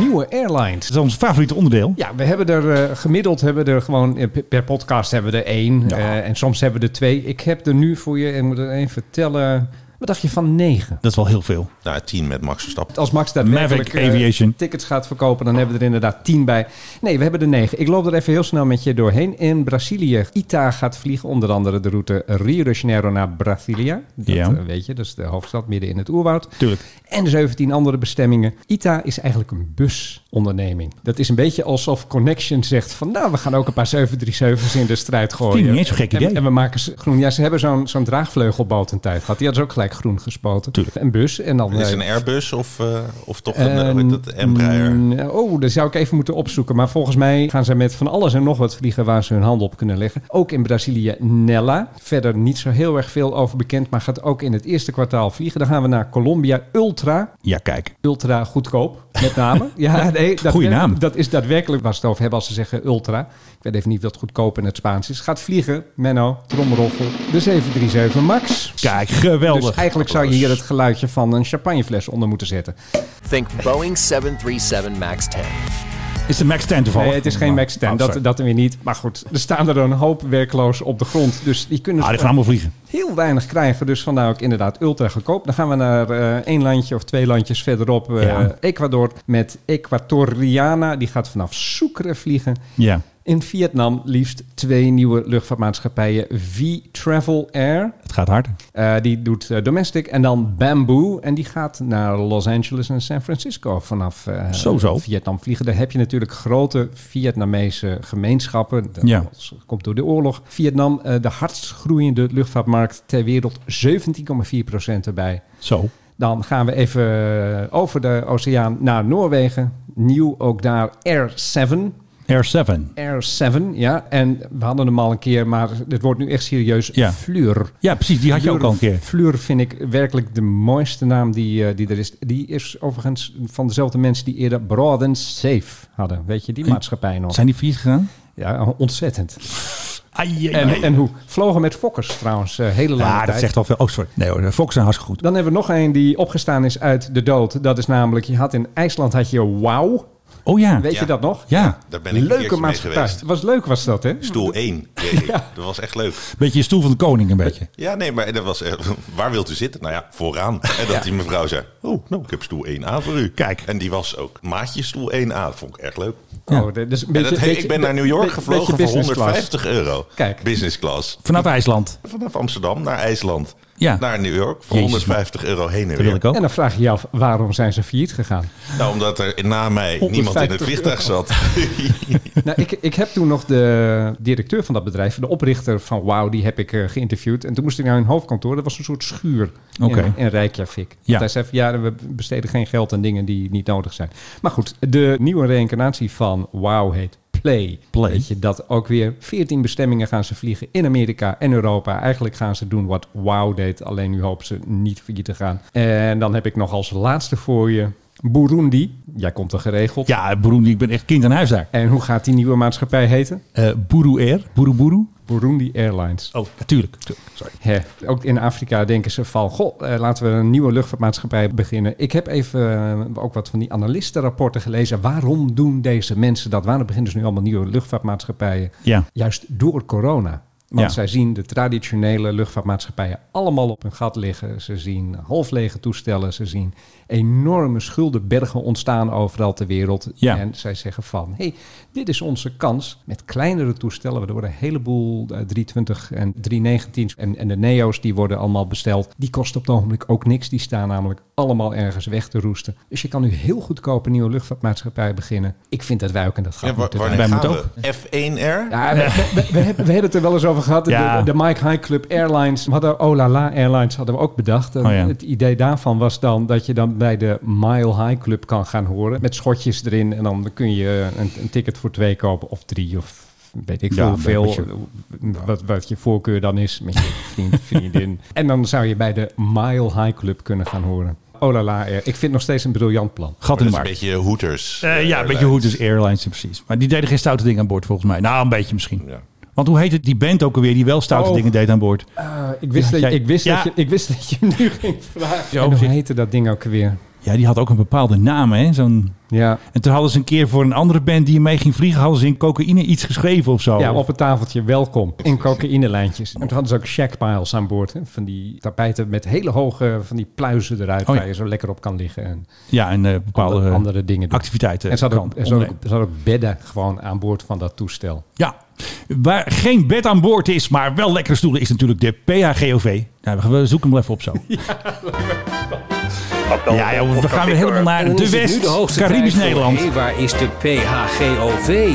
[SPEAKER 2] Nieuwe airlines.
[SPEAKER 1] dat is ons favoriete onderdeel.
[SPEAKER 2] Ja, we hebben er eh, gemiddeld hebben we er gewoon eh, per- per podcast hebben we er één. eh, en soms hebben we er twee. Ik heb er nu voor je, ik moet er één vertellen. Wat dacht je van 9?
[SPEAKER 1] Dat is wel heel veel.
[SPEAKER 3] Nou, 10 met Max Verstappen.
[SPEAKER 2] Als Max
[SPEAKER 1] Maverick
[SPEAKER 2] daadwerkelijk eh,
[SPEAKER 1] Aviation.
[SPEAKER 2] tickets gaat verkopen, dan hebben we er inderdaad 10 bij. Nee, we hebben er 9. Ik loop er even heel snel met je doorheen. In Brazilië, ITA gaat vliegen. Onder andere de route Rio de Janeiro naar Brasilia. Dat
[SPEAKER 1] Ja.
[SPEAKER 2] eh, weet je, dat is de hoofdstad midden in het oerwoud.
[SPEAKER 1] Tuurlijk.
[SPEAKER 2] En 17 andere bestemmingen. ITA is eigenlijk een busonderneming. Dat is een beetje alsof Connection zegt van... nou, we gaan ook een paar 737's in de strijd gooien.
[SPEAKER 1] Vind ik niet eens zo'n gek
[SPEAKER 2] En-
[SPEAKER 1] idee.
[SPEAKER 2] En, we maken ze groen. Ja, ze hebben zo'n zo'n draagvleugelboot een tijd gehad. Die hadden ze ook gelijk groen gespoten.
[SPEAKER 1] Tuurlijk.
[SPEAKER 2] Een bus en dan...
[SPEAKER 3] Is
[SPEAKER 2] eh,
[SPEAKER 3] het een Airbus of, eh, of toch een eh, hoe heet
[SPEAKER 2] Ehm,
[SPEAKER 3] dat, Embraer?
[SPEAKER 2] mm, Oh, dat zou ik even moeten opzoeken. Maar volgens mij gaan ze met van alles en nog wat vliegen waar ze hun handen op kunnen leggen. Ook in Brazilië Nella. Verder niet zo heel erg veel over bekend, maar gaat ook in het eerste kwartaal vliegen. Dan gaan we naar Colombia Ultra.
[SPEAKER 1] Ja, kijk.
[SPEAKER 2] Ultra goedkoop, met name. ja, nee, dat,
[SPEAKER 1] Goeie naam.
[SPEAKER 2] Dat is daadwerkelijk waar ze het over hebben als ze zeggen ultra. Ik weet even niet of dat goedkoop in het Spaans is. Gaat vliegen, Menno, Dus tromroffel, de 737 MAX.
[SPEAKER 1] Kijk, geweldig.
[SPEAKER 2] Dus eigenlijk zou je hier het geluidje van een champagnefles onder moeten zetten.
[SPEAKER 9] Think Boeing 737 MAX 10.
[SPEAKER 1] Is de Max 10 toevallig?
[SPEAKER 2] Nee, het is geen Max 10,
[SPEAKER 1] Oh,
[SPEAKER 2] dat,
[SPEAKER 1] sorry.
[SPEAKER 2] dat weer niet. Maar goed, er staan er een hoop werklozen op de grond. Dus die kunnen
[SPEAKER 1] Ah, die
[SPEAKER 2] ze
[SPEAKER 1] gaan allemaal vliegen.
[SPEAKER 2] heel weinig krijgen. Dus vandaar ook inderdaad ultra goedkoop. Dan gaan we naar eh één landje of twee landjes verderop. eh,
[SPEAKER 1] Ja.
[SPEAKER 2] Ecuador met Equatoriana. Die gaat vanaf Sucre vliegen.
[SPEAKER 1] Ja.
[SPEAKER 2] In Vietnam liefst twee nieuwe luchtvaartmaatschappijen. V-Travel Air.
[SPEAKER 1] Het gaat hard.
[SPEAKER 2] Eh, die doet eh, domestic. En dan Bamboo. En die gaat naar Los Angeles en San Francisco vanaf eh,
[SPEAKER 1] Zo, zo.
[SPEAKER 2] Vietnam vliegen. Daar heb je natuurlijk grote Vietnamese gemeenschappen. Dat
[SPEAKER 1] Ja.
[SPEAKER 2] komt door de oorlog. Vietnam, eh, de hardst groeiende luchtvaartmarkt ter wereld. 17,4% erbij.
[SPEAKER 1] Zo.
[SPEAKER 2] Dan gaan we even eh, over de oceaan naar Noorwegen. Nieuw ook daar Air 7.
[SPEAKER 1] Air 7.
[SPEAKER 2] Air 7, ja. En we hadden hem al een keer, maar het wordt nu echt serieus.
[SPEAKER 1] Ja.
[SPEAKER 2] Fleur.
[SPEAKER 1] Ja, precies. Die had je ook al een keer.
[SPEAKER 2] Fleur vind ik werkelijk de mooiste naam die, eh, die er is. Die is overigens van dezelfde mensen die eerder Broad and Safe hadden. Weet je, die maatschappij nog.
[SPEAKER 1] Zijn die failliet gegaan?
[SPEAKER 2] Ja, ontzettend.
[SPEAKER 1] Ai, ai, ai.
[SPEAKER 2] En, en hoe? Vlogen met fokkers trouwens, eh, hele lange
[SPEAKER 1] ah,
[SPEAKER 2] tijd.
[SPEAKER 1] dat zegt al veel. Oh, sorry. Nee hoor, Fox zijn hartstikke goed.
[SPEAKER 2] Dan hebben we nog een die opgestaan is uit de dood. Dat is namelijk, je had in IJsland had je Wow.
[SPEAKER 1] Oh ja.
[SPEAKER 2] Weet je dat nog?
[SPEAKER 1] Ja.
[SPEAKER 3] Daar ben ik een keertje
[SPEAKER 2] Leuke
[SPEAKER 3] mee
[SPEAKER 2] maatschappij.
[SPEAKER 3] geweest.
[SPEAKER 2] Was leuk was dat, hè?
[SPEAKER 3] Stoel 1 kreeg ik. Dat was echt leuk.
[SPEAKER 1] Beetje je stoel van de koning een beetje.
[SPEAKER 3] Ja, nee, maar dat was... eh, waar wilt u zitten? Nou ja, vooraan. En dat die mevrouw zei... Oh, nou, ik heb stoel 1A voor u.
[SPEAKER 1] Kijk.
[SPEAKER 3] En die was ook maatje stoel 1A. Vond ik erg leuk.
[SPEAKER 1] Ja.
[SPEAKER 2] Oh, dat is een
[SPEAKER 3] En
[SPEAKER 2] beetje,
[SPEAKER 3] dat, he-
[SPEAKER 2] beetje-
[SPEAKER 3] ik ben naar New
[SPEAKER 2] be-
[SPEAKER 3] York
[SPEAKER 2] beetje
[SPEAKER 3] gevlogen voor
[SPEAKER 2] business class.
[SPEAKER 3] 150 euro.
[SPEAKER 2] Kijk.
[SPEAKER 3] Business class.
[SPEAKER 1] Vanaf IJsland.
[SPEAKER 3] Vanaf Amsterdam naar IJsland.
[SPEAKER 1] Ja.
[SPEAKER 3] Naar New York. Voor
[SPEAKER 1] Jezus,
[SPEAKER 3] 150 euro heen en
[SPEAKER 1] Dat wil
[SPEAKER 3] weer.
[SPEAKER 1] ik ook.
[SPEAKER 2] En dan vraag je je af, waarom zijn ze failliet gegaan?
[SPEAKER 3] Nou, omdat er na mij niemand in het
[SPEAKER 2] 150
[SPEAKER 3] vliegtuig zat.
[SPEAKER 2] nou, ik, ik heb toen nog de directeur van dat bedrijf, de oprichter van Wow, die heb ik eh, geïnterviewd. En toen moest ik naar hun hoofdkantoor. Dat was een soort schuur
[SPEAKER 1] Oké.
[SPEAKER 2] in, in Rijkjavik.
[SPEAKER 1] Ja.
[SPEAKER 2] Want Hij zei van, ja, we besteden geen geld aan dingen die niet nodig zijn. Maar goed, de nieuwe reïncarnatie van Wow heet Play.
[SPEAKER 1] Play.
[SPEAKER 2] Weet je dat ook weer? 14 bestemmingen gaan ze vliegen in Amerika en Europa. Eigenlijk gaan ze doen wat Wow deed. Alleen nu hopen ze niet failliet te gaan. En dan heb ik nog als laatste voor je Burundi. Jij komt er geregeld.
[SPEAKER 1] Ja, Burundi, ik ben echt kind aan huis daar.
[SPEAKER 2] En hoe gaat die nieuwe maatschappij heten?
[SPEAKER 1] Eh Buru Air. Buru Buru.
[SPEAKER 2] Burundi Airlines.
[SPEAKER 1] Oh, natuurlijk. Sorry.
[SPEAKER 2] Hè, ook in Afrika denken ze van, goh, eh, laten we een nieuwe luchtvaartmaatschappij beginnen. Ik heb even eh, ook wat van die analistenrapporten gelezen. Waarom doen deze mensen dat? Waarom beginnen ze nu allemaal nieuwe luchtvaartmaatschappijen?
[SPEAKER 1] Ja.
[SPEAKER 2] Juist door corona. Want
[SPEAKER 1] Ja.
[SPEAKER 2] zij zien de traditionele luchtvaartmaatschappijen allemaal op hun gat liggen. Ze zien halflege toestellen. Ze zien enorme schuldenbergen ontstaan overal ter wereld.
[SPEAKER 1] Ja.
[SPEAKER 2] En zij zeggen van, hey, dit is onze kans met kleinere toestellen. Waardoor een heleboel eh, 320 en 319's en, en de Neo's die worden allemaal besteld. Die kosten op het ogenblik ook niks. Die staan namelijk allemaal ergens weg te roesten. Dus je kan nu heel goedkoop een nieuwe luchtvaartmaatschappij beginnen. Ik vind dat wij ook in dat gat
[SPEAKER 3] Ja, wa-
[SPEAKER 2] moeten
[SPEAKER 3] wanneer
[SPEAKER 1] Wij
[SPEAKER 3] gaan
[SPEAKER 1] moeten
[SPEAKER 3] we? F1R?
[SPEAKER 2] ja, we, we- we hebben, we hebben het er wel eens over gehad.
[SPEAKER 1] Ja.
[SPEAKER 2] De, de Mike High Club Airlines. We hadden Oh La La Airlines hadden we ook bedacht. En
[SPEAKER 1] Oh ja.
[SPEAKER 2] Het idee daarvan was dan dat je dan bij de Mile High Club kan gaan horen. Met schotjes erin. En dan kun je een, een ticket voor twee kopen. Of drie of weet ik
[SPEAKER 1] Ja,
[SPEAKER 2] veel. veel eh,
[SPEAKER 1] met je-
[SPEAKER 2] wat, wat je voorkeur dan is met je vriend, vriendin. En dan zou je bij de Mile High Club kunnen gaan horen. Oh La La Air. Ik vind het nog steeds een briljant plan.
[SPEAKER 1] Gat
[SPEAKER 3] Maar
[SPEAKER 1] in
[SPEAKER 3] Oh, dat
[SPEAKER 1] de
[SPEAKER 3] is een
[SPEAKER 1] markt.
[SPEAKER 3] beetje hooters.
[SPEAKER 1] Eh,
[SPEAKER 3] eh,
[SPEAKER 1] ja, een beetje
[SPEAKER 3] airline.
[SPEAKER 1] hoe dus Airlines, precies. Maar die deden geen stoute dingen aan boord volgens mij. Nou, een beetje misschien.
[SPEAKER 3] Ja.
[SPEAKER 1] Want hoe heet het die band ook alweer die wel stoute
[SPEAKER 2] Oh.
[SPEAKER 1] dingen deed aan boord?
[SPEAKER 2] Ah, ik, wist
[SPEAKER 1] Ja,
[SPEAKER 2] dat, je-
[SPEAKER 1] jij-
[SPEAKER 2] ik, wist
[SPEAKER 1] ja.
[SPEAKER 2] dat je, ik wist dat je hem nu ging vragen.
[SPEAKER 1] Ja,
[SPEAKER 2] en hoe
[SPEAKER 1] precies.
[SPEAKER 2] heette dat ding ook weer?
[SPEAKER 1] Ja, die had ook een bepaalde naam, hè? Zo'n...
[SPEAKER 2] Ja.
[SPEAKER 1] En toen hadden ze een keer voor een andere band die mee ging vliegen, hadden ze in cocaïne iets geschreven of zo.
[SPEAKER 2] Ja, op het tafeltje welkom. In cocaïnelijntjes. En toen hadden ze ook shackpiles aan boord. Hè? Van die tapijten met hele hoge van die pluizen eruit.
[SPEAKER 1] Oh ja.
[SPEAKER 2] Waar je zo lekker op kan liggen. En
[SPEAKER 1] Ja, en eh, bepaalde
[SPEAKER 2] andere, andere dingen doen.
[SPEAKER 1] activiteiten.
[SPEAKER 2] En ze hadden, ook,
[SPEAKER 1] kan
[SPEAKER 2] er zaten ook,
[SPEAKER 1] ondernemen.
[SPEAKER 2] er zaten ook bedden gewoon aan boord van dat toestel.
[SPEAKER 1] Ja, waar geen bed aan boord is, maar wel lekkere stoelen, is natuurlijk de PHGOV. Nou, we- we zoeken hem wel even op zo. Ja, joh, we gaan weer helemaal naar
[SPEAKER 4] En dan
[SPEAKER 1] de
[SPEAKER 4] is het nu de
[SPEAKER 1] West,
[SPEAKER 4] hoogste tijd
[SPEAKER 1] Caribisch
[SPEAKER 4] voor,
[SPEAKER 1] Nederland.
[SPEAKER 4] hé, waar is de PHGOV?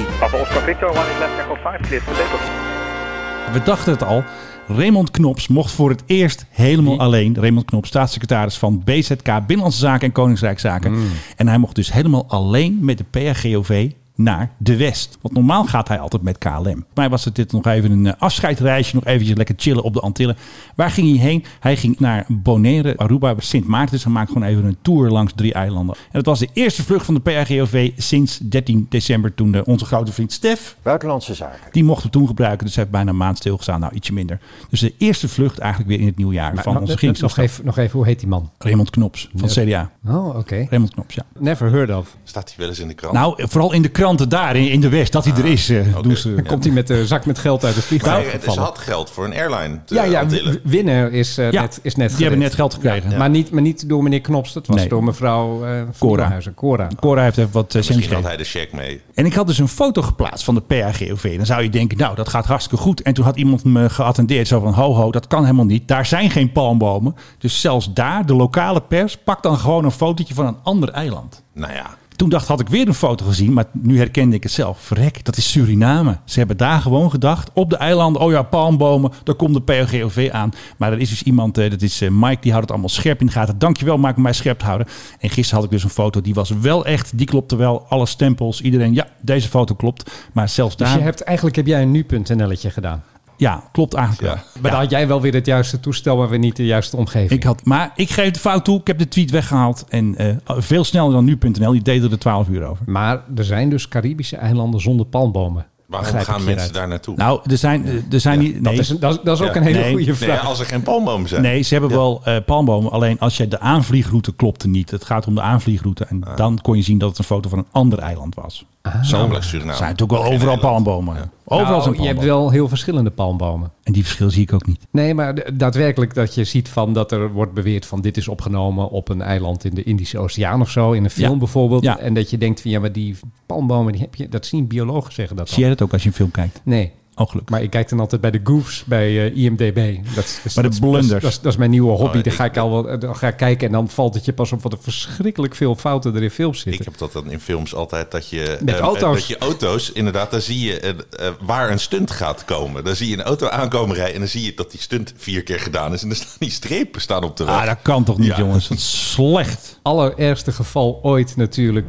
[SPEAKER 1] We dachten het al. Raymond Knops mocht voor het eerst helemaal alleen. Raymond Knops, staatssecretaris van BZK, Binnenlandse Zaken en Koninkrijkszaken. En hij mocht dus helemaal alleen met de PHGOV naar de West. Want normaal gaat hij altijd met KLM. Voor mij was het dit nog even een eh, afscheidreisje. Nog eventjes lekker chillen op de Antillen. Waar ging hij heen? Hij ging naar Bonaire, Aruba, Sint Maarten. Dus hij maakte gewoon even een tour langs drie eilanden. En dat was de eerste vlucht van de PHGOV sinds 13 december... toen eh, onze grote vriend Stef
[SPEAKER 10] Buitenlandse zaken.
[SPEAKER 1] die mochten we toen gebruiken, dus hij heeft bijna een maand stilgestaan. Nou, ietsje minder. Dus de eerste vlucht eigenlijk weer in het nieuwjaar van onze
[SPEAKER 2] Maar nog- Eh, nog,
[SPEAKER 1] gingsafstand.
[SPEAKER 2] even, nog even, hoe heet die man?
[SPEAKER 1] Raymond Knops van CDA.
[SPEAKER 2] Oh, oké.
[SPEAKER 1] Raymond Knops, ja.
[SPEAKER 2] Never heard of.
[SPEAKER 3] Staat hij wel eens in de krant?
[SPEAKER 1] Nou, vooral in de kranten daar, in, in de West, dat hij
[SPEAKER 2] Ah,
[SPEAKER 1] er is. eh,
[SPEAKER 3] Oké,
[SPEAKER 1] doen ze.
[SPEAKER 3] ja.
[SPEAKER 2] Komt hij met de zak met geld uit het
[SPEAKER 3] Maar
[SPEAKER 2] vliegtuig
[SPEAKER 3] hij- ze
[SPEAKER 2] gevallen?
[SPEAKER 3] had geld voor een airline te
[SPEAKER 2] Ja, ja,
[SPEAKER 3] Antillen.
[SPEAKER 2] w- winnaar is, eh,
[SPEAKER 1] Ja,
[SPEAKER 2] net, is net
[SPEAKER 1] die hebben net
[SPEAKER 2] gered.
[SPEAKER 1] geld gekregen.
[SPEAKER 2] Maar niet, maar niet door meneer Knops, dat was
[SPEAKER 1] Nee.
[SPEAKER 2] door mevrouw eh
[SPEAKER 1] Cora.
[SPEAKER 2] Vliegenhuizen, Cora.
[SPEAKER 1] Cora heeft even wat eh, centjes
[SPEAKER 3] Misschien had
[SPEAKER 1] gegeven.
[SPEAKER 3] hij de check mee.
[SPEAKER 1] En ik had dus een foto geplaatst van de PHGOV. Dan zou je denken, nou, dat gaat hartstikke goed. En toen had iemand me geattendeerd, zo van, ho, ho, dat kan helemaal niet. Daar zijn geen palmbomen. Dus zelfs daar, de lokale pers, pakt dan gewoon een fotootje van een ander eiland.
[SPEAKER 3] Nou ja,
[SPEAKER 1] Toen dacht, had ik weer een foto gezien, maar nu herkende ik het zelf. Verrek, dat is Suriname. Ze hebben daar gewoon gedacht, op de eilanden, oh ja, palmbomen, daar komt de POGOV aan. Maar er is dus iemand, eh, dat is eh, Mike, die houdt het allemaal scherp in de gaten. Dankjewel, Mike, om mij scherp te houden. En gisteren had ik dus een foto, die was wel echt, die klopte wel. Alle stempels, iedereen, ja, deze foto klopt. Maar zelfs
[SPEAKER 2] Dus
[SPEAKER 1] daar,
[SPEAKER 2] je hebt, eigenlijk heb jij een nu.nl-etje gedaan.
[SPEAKER 1] ja, klopt eigenlijk
[SPEAKER 3] Ja.
[SPEAKER 1] wel.
[SPEAKER 2] Maar dan had jij wel weer het juiste toestel, maar weer niet de juiste omgeving.
[SPEAKER 1] Ik had, maar ik geef de fout toe, ik heb de tweet weggehaald. En eh, veel sneller dan nu.nl, die deden er 12 uur over.
[SPEAKER 2] Maar er zijn dus Caribische eilanden zonder palmbomen.
[SPEAKER 3] waarom
[SPEAKER 2] Begrijp ik
[SPEAKER 3] gaan
[SPEAKER 2] hieruit.
[SPEAKER 3] mensen daar naartoe?
[SPEAKER 1] Nou, er zijn, er zijn niet...
[SPEAKER 2] Dat,
[SPEAKER 1] nee.
[SPEAKER 2] is, een- dat, is, dat is ook
[SPEAKER 3] Ja.
[SPEAKER 2] een hele
[SPEAKER 1] Nee.
[SPEAKER 2] goede
[SPEAKER 3] nee,
[SPEAKER 2] vraag.
[SPEAKER 3] als er geen palmbomen zijn.
[SPEAKER 1] Nee, ze hebben wel eh, palmbomen. Alleen als je de aanvliegroute klopte niet. Het gaat om de aanvliegroute. En dan kon je zien dat het een foto van een ander eiland was.
[SPEAKER 3] Namelijk Suriname.
[SPEAKER 1] Er zijn natuurlijk wel
[SPEAKER 3] Geen
[SPEAKER 1] overal
[SPEAKER 3] Nederland.
[SPEAKER 1] palmbomen. Overal
[SPEAKER 2] Nou,
[SPEAKER 1] zijn
[SPEAKER 2] je hebt
[SPEAKER 1] palmbomen.
[SPEAKER 2] wel heel verschillende palmbomen.
[SPEAKER 1] En die verschil zie ik ook niet.
[SPEAKER 2] Nee, maar d- daadwerkelijk dat je ziet van dat er wordt beweerd van dit is opgenomen op een eiland in de Indische Oceaan of zo, in een film
[SPEAKER 1] Ja.
[SPEAKER 2] bijvoorbeeld.
[SPEAKER 1] Ja.
[SPEAKER 2] En dat je denkt van ja, maar die palmbomen, die heb je, dat zien biologen zeggen dat
[SPEAKER 1] Zie
[SPEAKER 2] dan.
[SPEAKER 1] jij dat ook als je een film kijkt?
[SPEAKER 2] Nee,
[SPEAKER 1] Oh, gelukkig.
[SPEAKER 2] maar ik kijk dan altijd bij de goofs bij eh, IMDB. Dat, is- dat,
[SPEAKER 1] Bij
[SPEAKER 2] is-
[SPEAKER 1] de
[SPEAKER 2] dat is-
[SPEAKER 1] blunders.
[SPEAKER 2] Dat, is- dat is- dat is mijn nieuwe hobby.
[SPEAKER 3] Oh,
[SPEAKER 2] dan, ga
[SPEAKER 3] ik-
[SPEAKER 2] ik al wel, eh, dan ga ik kijken en dan valt het je pas op wat er verschrikkelijk veel fouten er in films
[SPEAKER 3] Ik
[SPEAKER 2] zitten.
[SPEAKER 3] heb dat dan in films altijd dat je
[SPEAKER 2] Met
[SPEAKER 3] eh,
[SPEAKER 2] auto's.
[SPEAKER 3] dat je auto's inderdaad daar zie je eh, eh, waar een stunt gaat komen. Dan zie je een auto aankomen rijden en dan zie je dat die stunt vier keer gedaan is en dan staan die strepen staan op de weg.
[SPEAKER 1] Ah, dat kan toch niet,
[SPEAKER 3] Ja.
[SPEAKER 1] jongens? Dat is slecht.
[SPEAKER 2] Allerergste geval ooit natuurlijk.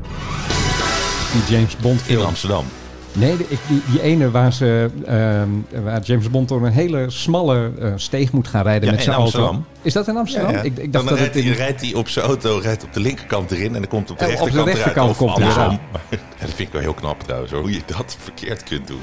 [SPEAKER 2] Die James Bond
[SPEAKER 3] in
[SPEAKER 2] film.
[SPEAKER 3] Amsterdam.
[SPEAKER 2] Nee, de- ik- die, die ene waar, ze, ehm, waar James Bond door een hele smalle eh, steeg moet gaan rijden
[SPEAKER 3] Ja,
[SPEAKER 2] met
[SPEAKER 3] in
[SPEAKER 2] zijn auto.
[SPEAKER 3] Amsterdam.
[SPEAKER 2] Is dat in Amsterdam?
[SPEAKER 3] Ja.
[SPEAKER 2] Ik, ik dacht
[SPEAKER 3] dan
[SPEAKER 2] dat het
[SPEAKER 3] rijdt,
[SPEAKER 2] in...
[SPEAKER 3] hij- rijdt hij op zijn auto, rijdt op de linkerkant erin en dan komt op de
[SPEAKER 2] En op de
[SPEAKER 3] rechterkant,
[SPEAKER 2] rechterkant
[SPEAKER 3] eruit. Of
[SPEAKER 2] komt hij eraan.
[SPEAKER 3] andersom. Ja, dat vind ik wel heel knap trouwens, hoor, hoe je dat verkeerd kunt doen.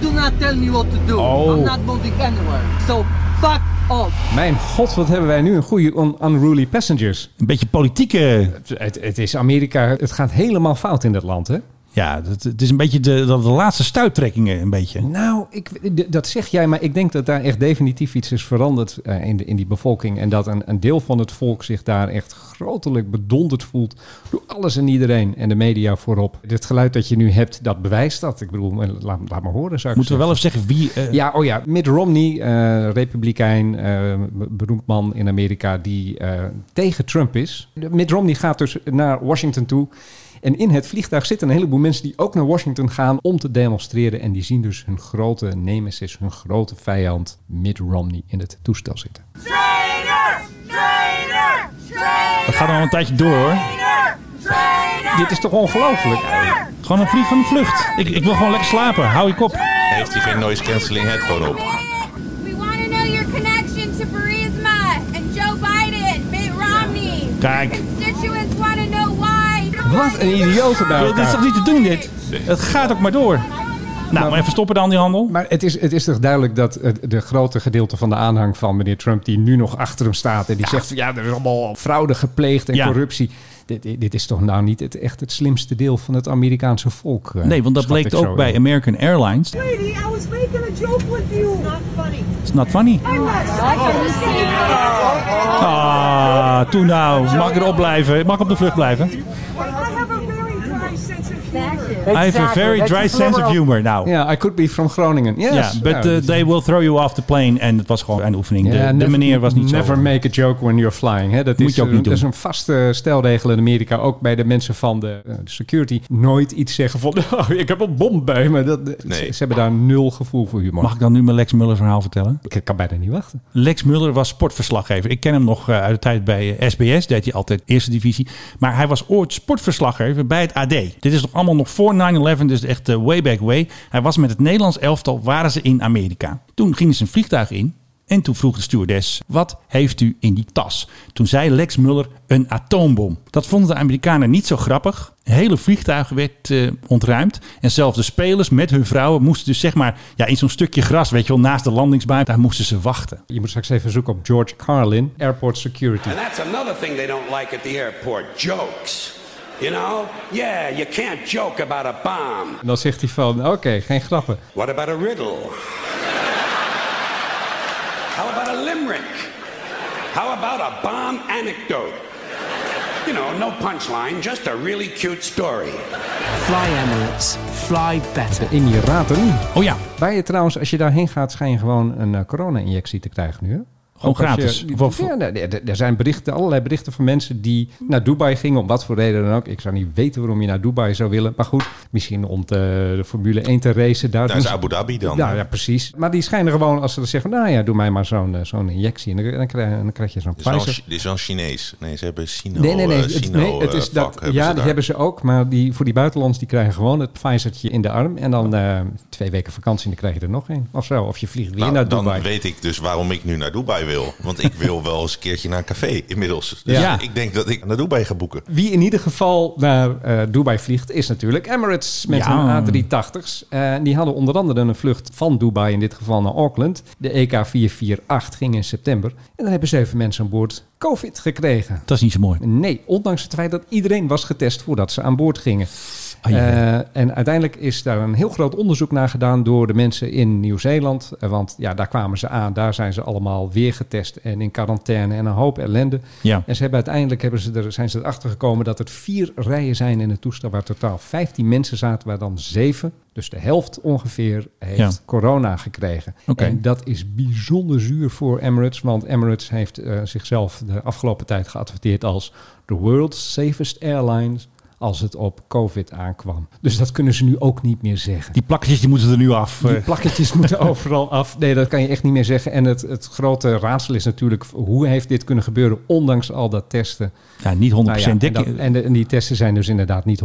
[SPEAKER 5] Do not tell me what to do.
[SPEAKER 2] Oh.
[SPEAKER 5] I'm not moving anywhere. So fuck off.
[SPEAKER 2] Mijn god, wat hebben wij nu een goede un- unruly passengers.
[SPEAKER 1] Een beetje politieke...
[SPEAKER 2] Het, het, het is Amerika, het gaat helemaal fout in dat land, hè?
[SPEAKER 1] Ja, het, het is een beetje de, de, de laatste stuittrekkingen. Een beetje.
[SPEAKER 2] Nou, ik, d- dat zeg jij, maar ik denk dat daar echt definitief iets is veranderd eh, in, de, in die bevolking. En dat een, een deel van het volk zich daar echt grotelijk bedonderd voelt door alles en iedereen en de media voorop. Dit geluid dat je nu hebt, dat bewijst dat. Ik bedoel, eh, laat, laat maar horen, zou ik
[SPEAKER 1] Moeten we wel even zeggen wie... eh,
[SPEAKER 2] Ja, oh ja, Mitt Romney, eh, republikein, eh, be- beroemd man in Amerika die eh, tegen Trump is. Mitt Romney gaat dus naar Washington toe. En in het vliegtuig zitten een heleboel mensen die ook naar Washington gaan om te demonstreren. En die zien dus hun grote nemesis, hun grote vijand, Mitt Romney, in het toestel zitten.
[SPEAKER 1] Dat gaat al een tijdje door, hoor.
[SPEAKER 2] Dit is toch ongelooflijk?
[SPEAKER 1] Gewoon een vlieg van de vlucht. Ik, ik wil gewoon lekker slapen. Hou je kop.
[SPEAKER 3] Heeft hij geen noise cancelling headphone op?
[SPEAKER 11] We want to know your connection to Burisma and Joe Biden, Mitt Romney.
[SPEAKER 1] Kijk.
[SPEAKER 11] Constituents want to know why.
[SPEAKER 2] Wat een idioten bij
[SPEAKER 1] Dit is
[SPEAKER 2] elkaar.
[SPEAKER 1] toch niet te doen, dit? Het gaat ook maar door. Nou, maar even stoppen dan die handel.
[SPEAKER 2] Maar het is, het is toch duidelijk dat eh, de grote gedeelte van de aanhang van meneer Trump, die nu nog achter hem staat en die zegt: van, ja, er is allemaal fraude gepleegd en
[SPEAKER 1] Ja.
[SPEAKER 2] corruptie. Dit, dit- dit is toch nou niet het, echt het slimste deel van het Amerikaanse volk? eh,
[SPEAKER 1] Nee, want dat
[SPEAKER 2] schat ik
[SPEAKER 1] bleek
[SPEAKER 2] zo
[SPEAKER 1] ook bij
[SPEAKER 2] in.
[SPEAKER 1] American Airlines.
[SPEAKER 11] Lady, I was making a joke with you. not funny. Oh.
[SPEAKER 1] It's not funny.
[SPEAKER 11] I'm not
[SPEAKER 1] Ah, toen nou. Mag ik erop blijven? Mag ik op de vlucht blijven? I
[SPEAKER 11] I have
[SPEAKER 1] have
[SPEAKER 11] a very dry sense of humor.
[SPEAKER 1] a very dry sense of humor. Nou,
[SPEAKER 2] Ja, I could be from Groningen. Yes. dus-
[SPEAKER 1] Ja, but uh, they will throw you off the plane. En het was gewoon een oefening. De,
[SPEAKER 2] Ja,
[SPEAKER 1] de
[SPEAKER 2] nev-
[SPEAKER 1] meneer was niet
[SPEAKER 2] Never
[SPEAKER 1] zo...
[SPEAKER 2] make a joke when you're flying. Hè? Dat
[SPEAKER 1] Moet
[SPEAKER 2] is,
[SPEAKER 1] je ook
[SPEAKER 2] een-
[SPEAKER 1] niet doen.
[SPEAKER 2] Dat is een vaste stelregel in Amerika. Ook bij de mensen van de eh, security. Nooit iets zeggen van... Oh, ik heb een bom bij me. Dat, eh,
[SPEAKER 3] Nee.
[SPEAKER 2] ze, ze hebben daar nul gevoel voor humor.
[SPEAKER 1] Mag ik dan nu mijn Lex Muller verhaal vertellen?
[SPEAKER 2] ik kan bijna niet wachten.
[SPEAKER 1] Lex Muller was sportverslaggever. Ik ken hem nog eh, uit de tijd bij eh, SBS. Deed hij altijd eerste divisie. Maar hij was ooit sportverslaggever bij het AD. Dit is nog allemaal nog voor 9-11. Dus echt eh, way back way. Hij was met het Nederlands elftal. Waren ze in Amerika. Toen gingen ze een vliegtuig in. En toen vroeg de stewardess, wat heeft u in die tas? Toen zei Lex Muller, een atoombom. Dat vonden de Amerikanen niet zo grappig. Het hele vliegtuig werd eh, ontruimd. En zelfs de spelers met hun vrouwen moesten dus zeg maar... Ja, in zo'n stukje gras, weet je wel, naast de landingsbaan... daar moesten ze wachten.
[SPEAKER 2] Je moet straks even zoeken op George Carlin. Airport security.
[SPEAKER 10] And that's another thing they don't like at the airport jokes. You know? Yeah, you can't joke about a bomb.
[SPEAKER 2] En dan zegt hij van... Oké, geen grappen.
[SPEAKER 10] What about a riddle? How about a limerick? How about a bomb anecdote? You know, no punchline, just a really cute story.
[SPEAKER 4] Fly Emirates. Fly better.
[SPEAKER 2] Emiraten.
[SPEAKER 1] Oh ja,
[SPEAKER 2] Waar je trouwens, als je daarheen gaat... schijn je gewoon een eh, corona-injectie te krijgen nu. hè?
[SPEAKER 1] Gewoon
[SPEAKER 2] Ook als
[SPEAKER 1] gratis.
[SPEAKER 2] je-
[SPEAKER 1] Wat voor-
[SPEAKER 2] ja, nou, er- er- er zijn berichten, allerlei berichten van mensen die naar Dubai gingen. Om wat voor reden dan ook. Ik zou niet weten waarom je naar Dubai zou willen. Maar goed, misschien om te- de Formule 1 te racen. Daar
[SPEAKER 3] Daar
[SPEAKER 2] doen
[SPEAKER 3] Nou, is
[SPEAKER 2] ze-
[SPEAKER 3] Abu Dhabi dan.
[SPEAKER 2] Ja, ja, precies. Maar die schijnen gewoon, als ze dan zeggen... nou ja, doe mij maar zo'n eh, zo'n injectie. En dan, dan krijg, dan krijg je zo'n
[SPEAKER 3] Dit is, wel,
[SPEAKER 2] Pfizer.
[SPEAKER 3] Chi- dit is wel Chinees. Nee, ze hebben Sino.
[SPEAKER 2] Nee, nee, nee.
[SPEAKER 3] eh,
[SPEAKER 2] Het,
[SPEAKER 3] Sino,
[SPEAKER 2] nee, het
[SPEAKER 3] eh,
[SPEAKER 2] is
[SPEAKER 3] vak
[SPEAKER 2] dat,
[SPEAKER 3] hebben
[SPEAKER 2] ja,
[SPEAKER 3] ze
[SPEAKER 2] die
[SPEAKER 3] daar.
[SPEAKER 2] hebben ze ook. Maar die, voor die buitenlands, die krijgen gewoon het Pfizertje in de arm. En dan eh, twee weken vakantie en dan krijg je er nog een. Of zo. Of je vliegt weer
[SPEAKER 3] Nou,
[SPEAKER 2] naar
[SPEAKER 3] dan
[SPEAKER 2] Dubai.
[SPEAKER 3] weet ik dus waarom ik nu naar Dubai wil. Want ik wil wel eens een keertje naar een café inmiddels. Dus
[SPEAKER 2] Ja.
[SPEAKER 3] ik denk dat ik naar Dubai ga boeken.
[SPEAKER 2] Wie in ieder geval naar eh, Dubai vliegt, is natuurlijk Emirates met
[SPEAKER 1] Ja.
[SPEAKER 2] hun A380's. Eh, die hadden onder andere een vlucht van Dubai, in dit geval naar Auckland. De E EK448 ging in september. En dan hebben zeven mensen aan boord COVID gekregen.
[SPEAKER 1] dat is niet zo mooi.
[SPEAKER 2] Nee, ondanks het feit dat iedereen was getest voordat ze aan boord gingen.
[SPEAKER 1] Ah, ja.
[SPEAKER 2] Eh, en uiteindelijk is daar een heel groot onderzoek naar gedaan door de mensen in Nieuw-Zeeland. Eh, want ja, daar kwamen ze aan, daar zijn ze allemaal weer getest en in quarantaine en een hoop ellende.
[SPEAKER 1] Ja.
[SPEAKER 2] En ze hebben uiteindelijk hebben ze er, zijn ze erachter gekomen dat er vier rijen zijn in het toestel waar totaal 15 mensen zaten, waar dan zeven, dus de helft ongeveer, heeft
[SPEAKER 1] Ja.
[SPEAKER 2] corona gekregen.
[SPEAKER 1] Oké.
[SPEAKER 2] En dat is bijzonder zuur voor Emirates, want Emirates heeft eh, zichzelf de afgelopen tijd geadverteerd als the world's safest airlines als het op COVID aankwam. Dus dat kunnen ze nu ook niet meer zeggen.
[SPEAKER 1] Die plakketjes die moeten er nu af.
[SPEAKER 2] Die
[SPEAKER 1] Eh,
[SPEAKER 2] plakketjes moeten overal af. Nee, dat kan je echt niet meer zeggen. En het, het grote raadsel is natuurlijk... hoe heeft dit kunnen gebeuren ondanks al dat testen?
[SPEAKER 1] ja, niet 100%
[SPEAKER 2] Nou ja, en
[SPEAKER 1] dik.
[SPEAKER 2] dat- en, de- en die testen zijn dus inderdaad niet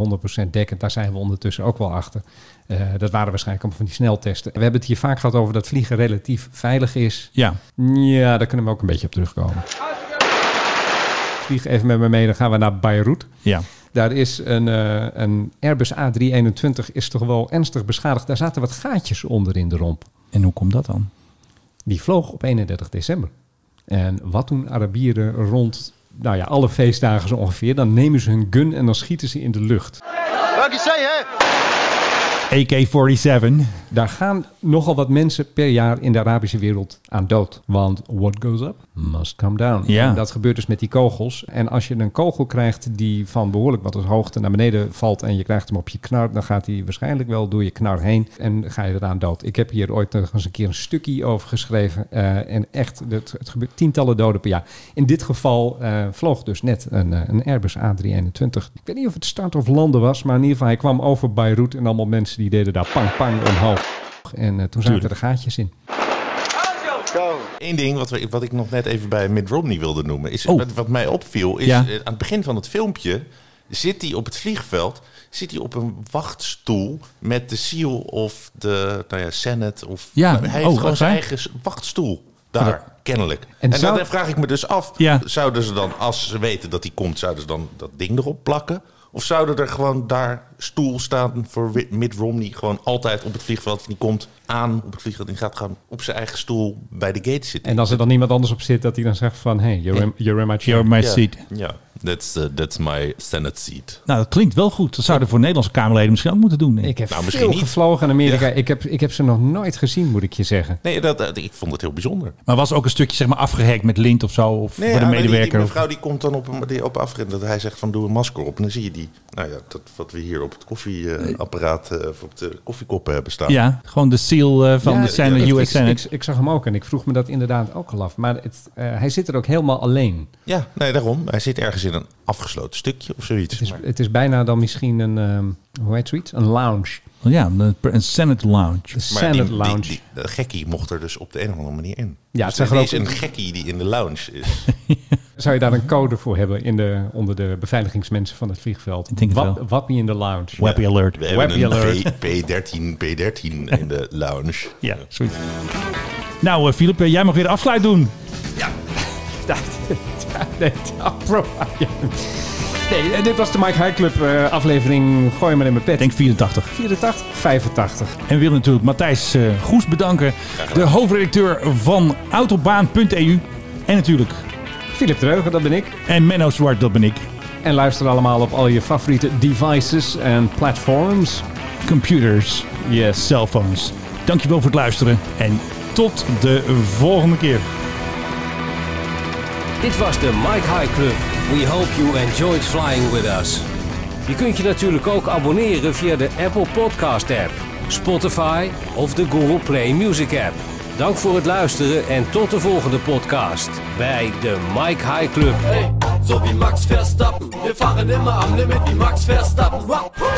[SPEAKER 2] 100% dekkend. Daar zijn we ondertussen ook wel achter. Eh, dat waren waarschijnlijk allemaal van die sneltesten. We hebben het hier vaak gehad over dat vliegen relatief veilig is.
[SPEAKER 1] ja.
[SPEAKER 2] Ja, daar kunnen we ook een beetje op terugkomen. Vlieg even met me mee, dan gaan we naar Beirut.
[SPEAKER 1] ja.
[SPEAKER 2] Daar is een, eh, een Airbus A321 is toch wel ernstig beschadigd. Daar zaten wat gaatjes onder in de romp.
[SPEAKER 1] En hoe komt dat dan?
[SPEAKER 2] Die vloog op 31 december. En wat doen Arabieren rond nou ja, alle feestdagen zo ongeveer? Dan nemen ze hun gun en dan schieten ze in de lucht.
[SPEAKER 1] AK-47.
[SPEAKER 2] Daar gaan nogal wat mensen per jaar in de Arabische wereld aan dood. Want what goes up must come down.
[SPEAKER 1] Ja.
[SPEAKER 2] En dat gebeurt dus met die kogels. En als je een kogel krijgt die van behoorlijk wat hoogte naar beneden valt... en je krijgt hem op je knar, dan gaat hij waarschijnlijk wel door je knar heen... en ga je eraan dood. Ik heb hier ooit nog eens een keer een stukje over geschreven. eh, en echt, het, het gebeurt tientallen doden per jaar. In dit geval eh, vloog dus net een, eh, een Airbus A321. Ik weet niet of het start of landen was... maar in ieder geval, hij kwam over Beirut... en allemaal mensen die deden daar pang, pang omhoog. En eh, toen zaten er gaatjes in.
[SPEAKER 3] Eén ding wat, we, wat ik nog net even bij Mitt Romney wilde noemen. Is,
[SPEAKER 1] Oh.
[SPEAKER 3] wat, wat mij opviel is
[SPEAKER 1] Ja.
[SPEAKER 3] eh, aan het begin van het filmpje zit hij op het vliegveld. Zit hij op een wachtstoel met de SEAL of de nou ja, Senate. Of,
[SPEAKER 1] Ja,
[SPEAKER 3] nou, hij heeft
[SPEAKER 1] oh,
[SPEAKER 3] gewoon
[SPEAKER 1] echt
[SPEAKER 3] zijn
[SPEAKER 1] waar?
[SPEAKER 3] eigen s- wachtstoel daar, kennelijk. En,
[SPEAKER 2] En
[SPEAKER 3] dan
[SPEAKER 2] zou-
[SPEAKER 3] vraag ik me dus af,
[SPEAKER 1] Ja.
[SPEAKER 3] zouden ze dan, als ze weten dat hij komt, zouden ze dan dat ding erop plakken? Of zouden er gewoon daar stoel staan voor Wi- Mitt Romney. Gewoon altijd op het vliegveld. Die komt aan op het vliegveld en gaat gewoon op zijn eigen stoel bij de gate zitten.
[SPEAKER 2] En als er dan iemand anders op zit, dat hij dan zegt van... Hey, you're, in, you're in my chair.
[SPEAKER 1] my
[SPEAKER 3] Ja.
[SPEAKER 1] seat.
[SPEAKER 3] Ja, that's, eh, that's my Senate seat.
[SPEAKER 1] Nou, dat klinkt wel goed. Dat zouden voor Nederlandse Kamerleden misschien ook moeten doen. denk
[SPEAKER 2] Ik heb
[SPEAKER 3] Nou, misschien
[SPEAKER 2] veel
[SPEAKER 3] niet.
[SPEAKER 2] gevlogen in Amerika. Ik, heb, ik heb ze nog nooit gezien, moet ik je zeggen.
[SPEAKER 3] Nee, dat, eh, ik vond het heel bijzonder.
[SPEAKER 1] Maar was er ook een stukje zeg maar, afgehackt met lint of zo? Of
[SPEAKER 3] Nee,
[SPEAKER 1] voor de
[SPEAKER 3] ja, maar die-
[SPEAKER 1] medewerker?
[SPEAKER 3] Die,
[SPEAKER 1] of-
[SPEAKER 3] mevrouw die komt dan op, een- die op afgerend dat hij zegt van doe een masker op. En dan zie je die, nou ja, dat wat we hier op het koffieapparaat, eh, of op de koffiekoppen hebben staan.
[SPEAKER 1] Ja, gewoon de seal eh, van
[SPEAKER 2] Ja,
[SPEAKER 1] de Senate,
[SPEAKER 2] ik- ik-
[SPEAKER 1] US Senate.
[SPEAKER 2] Ik, ik zag hem ook en ik vroeg me dat inderdaad ook al af. Maar het, eh, hij zit er ook helemaal alleen.
[SPEAKER 3] Ja, nee, daarom. Hij zit ergens in een afgesloten stukje of zoiets.
[SPEAKER 2] Het is,
[SPEAKER 3] Maar-
[SPEAKER 2] het is bijna dan misschien een, ehm, hoe heet zoiets? Een lounge.
[SPEAKER 1] Oh ja, een- een Senate lounge.
[SPEAKER 2] De
[SPEAKER 3] maar
[SPEAKER 2] Senate
[SPEAKER 3] die- die-
[SPEAKER 2] Lounge.
[SPEAKER 3] die- de gekkie mocht er dus op de een of andere manier in.
[SPEAKER 2] Ja,
[SPEAKER 3] dus
[SPEAKER 2] het zijn
[SPEAKER 3] er is
[SPEAKER 2] geloof
[SPEAKER 3] een
[SPEAKER 2] ik-
[SPEAKER 3] gekkie die in de lounge is.
[SPEAKER 2] Zou je daar een code voor hebben in de, onder de beveiligingsmensen van het vliegveld?
[SPEAKER 1] Ik denk het
[SPEAKER 2] Wap-
[SPEAKER 1] wel.
[SPEAKER 2] Wappie in de lounge.
[SPEAKER 1] Wappy alert.
[SPEAKER 3] We hebben
[SPEAKER 2] Webby
[SPEAKER 3] een
[SPEAKER 2] alert.
[SPEAKER 3] P, 13 P13 in de lounge.
[SPEAKER 1] Ja, zoiets. Nou, eh, Filip, eh, jij mag weer de afsluit doen.
[SPEAKER 2] Nee, bro. Nee, eh, dit was de Mike High Club eh, aflevering Gooi maar in mijn pet.
[SPEAKER 1] Ik denk 84.
[SPEAKER 2] 84, 85.
[SPEAKER 1] En we willen natuurlijk Matthijs eh, Goes bedanken. De hoofdredacteur van autobaan.eu. En natuurlijk,
[SPEAKER 2] Philip Dreugen, dat ben ik.
[SPEAKER 1] en Menno Zwart, dat ben ik.
[SPEAKER 2] En luister allemaal op al je favoriete devices en platforms.
[SPEAKER 1] Computers,
[SPEAKER 2] Yes.
[SPEAKER 1] cellphones. Dankjewel voor het luisteren. En tot de volgende keer.
[SPEAKER 12] Dit was de Mike High Club. We hope you enjoyed flying with us. Je kunt je natuurlijk ook abonneren via de Apple Podcast app, Spotify of de Google Play Music app. Dank voor het luisteren en tot de volgende podcast bij de Mike High Club.
[SPEAKER 13] so wie Max Verstappen. Wir fahren immer am Limit wie Max Verstappen. Wah!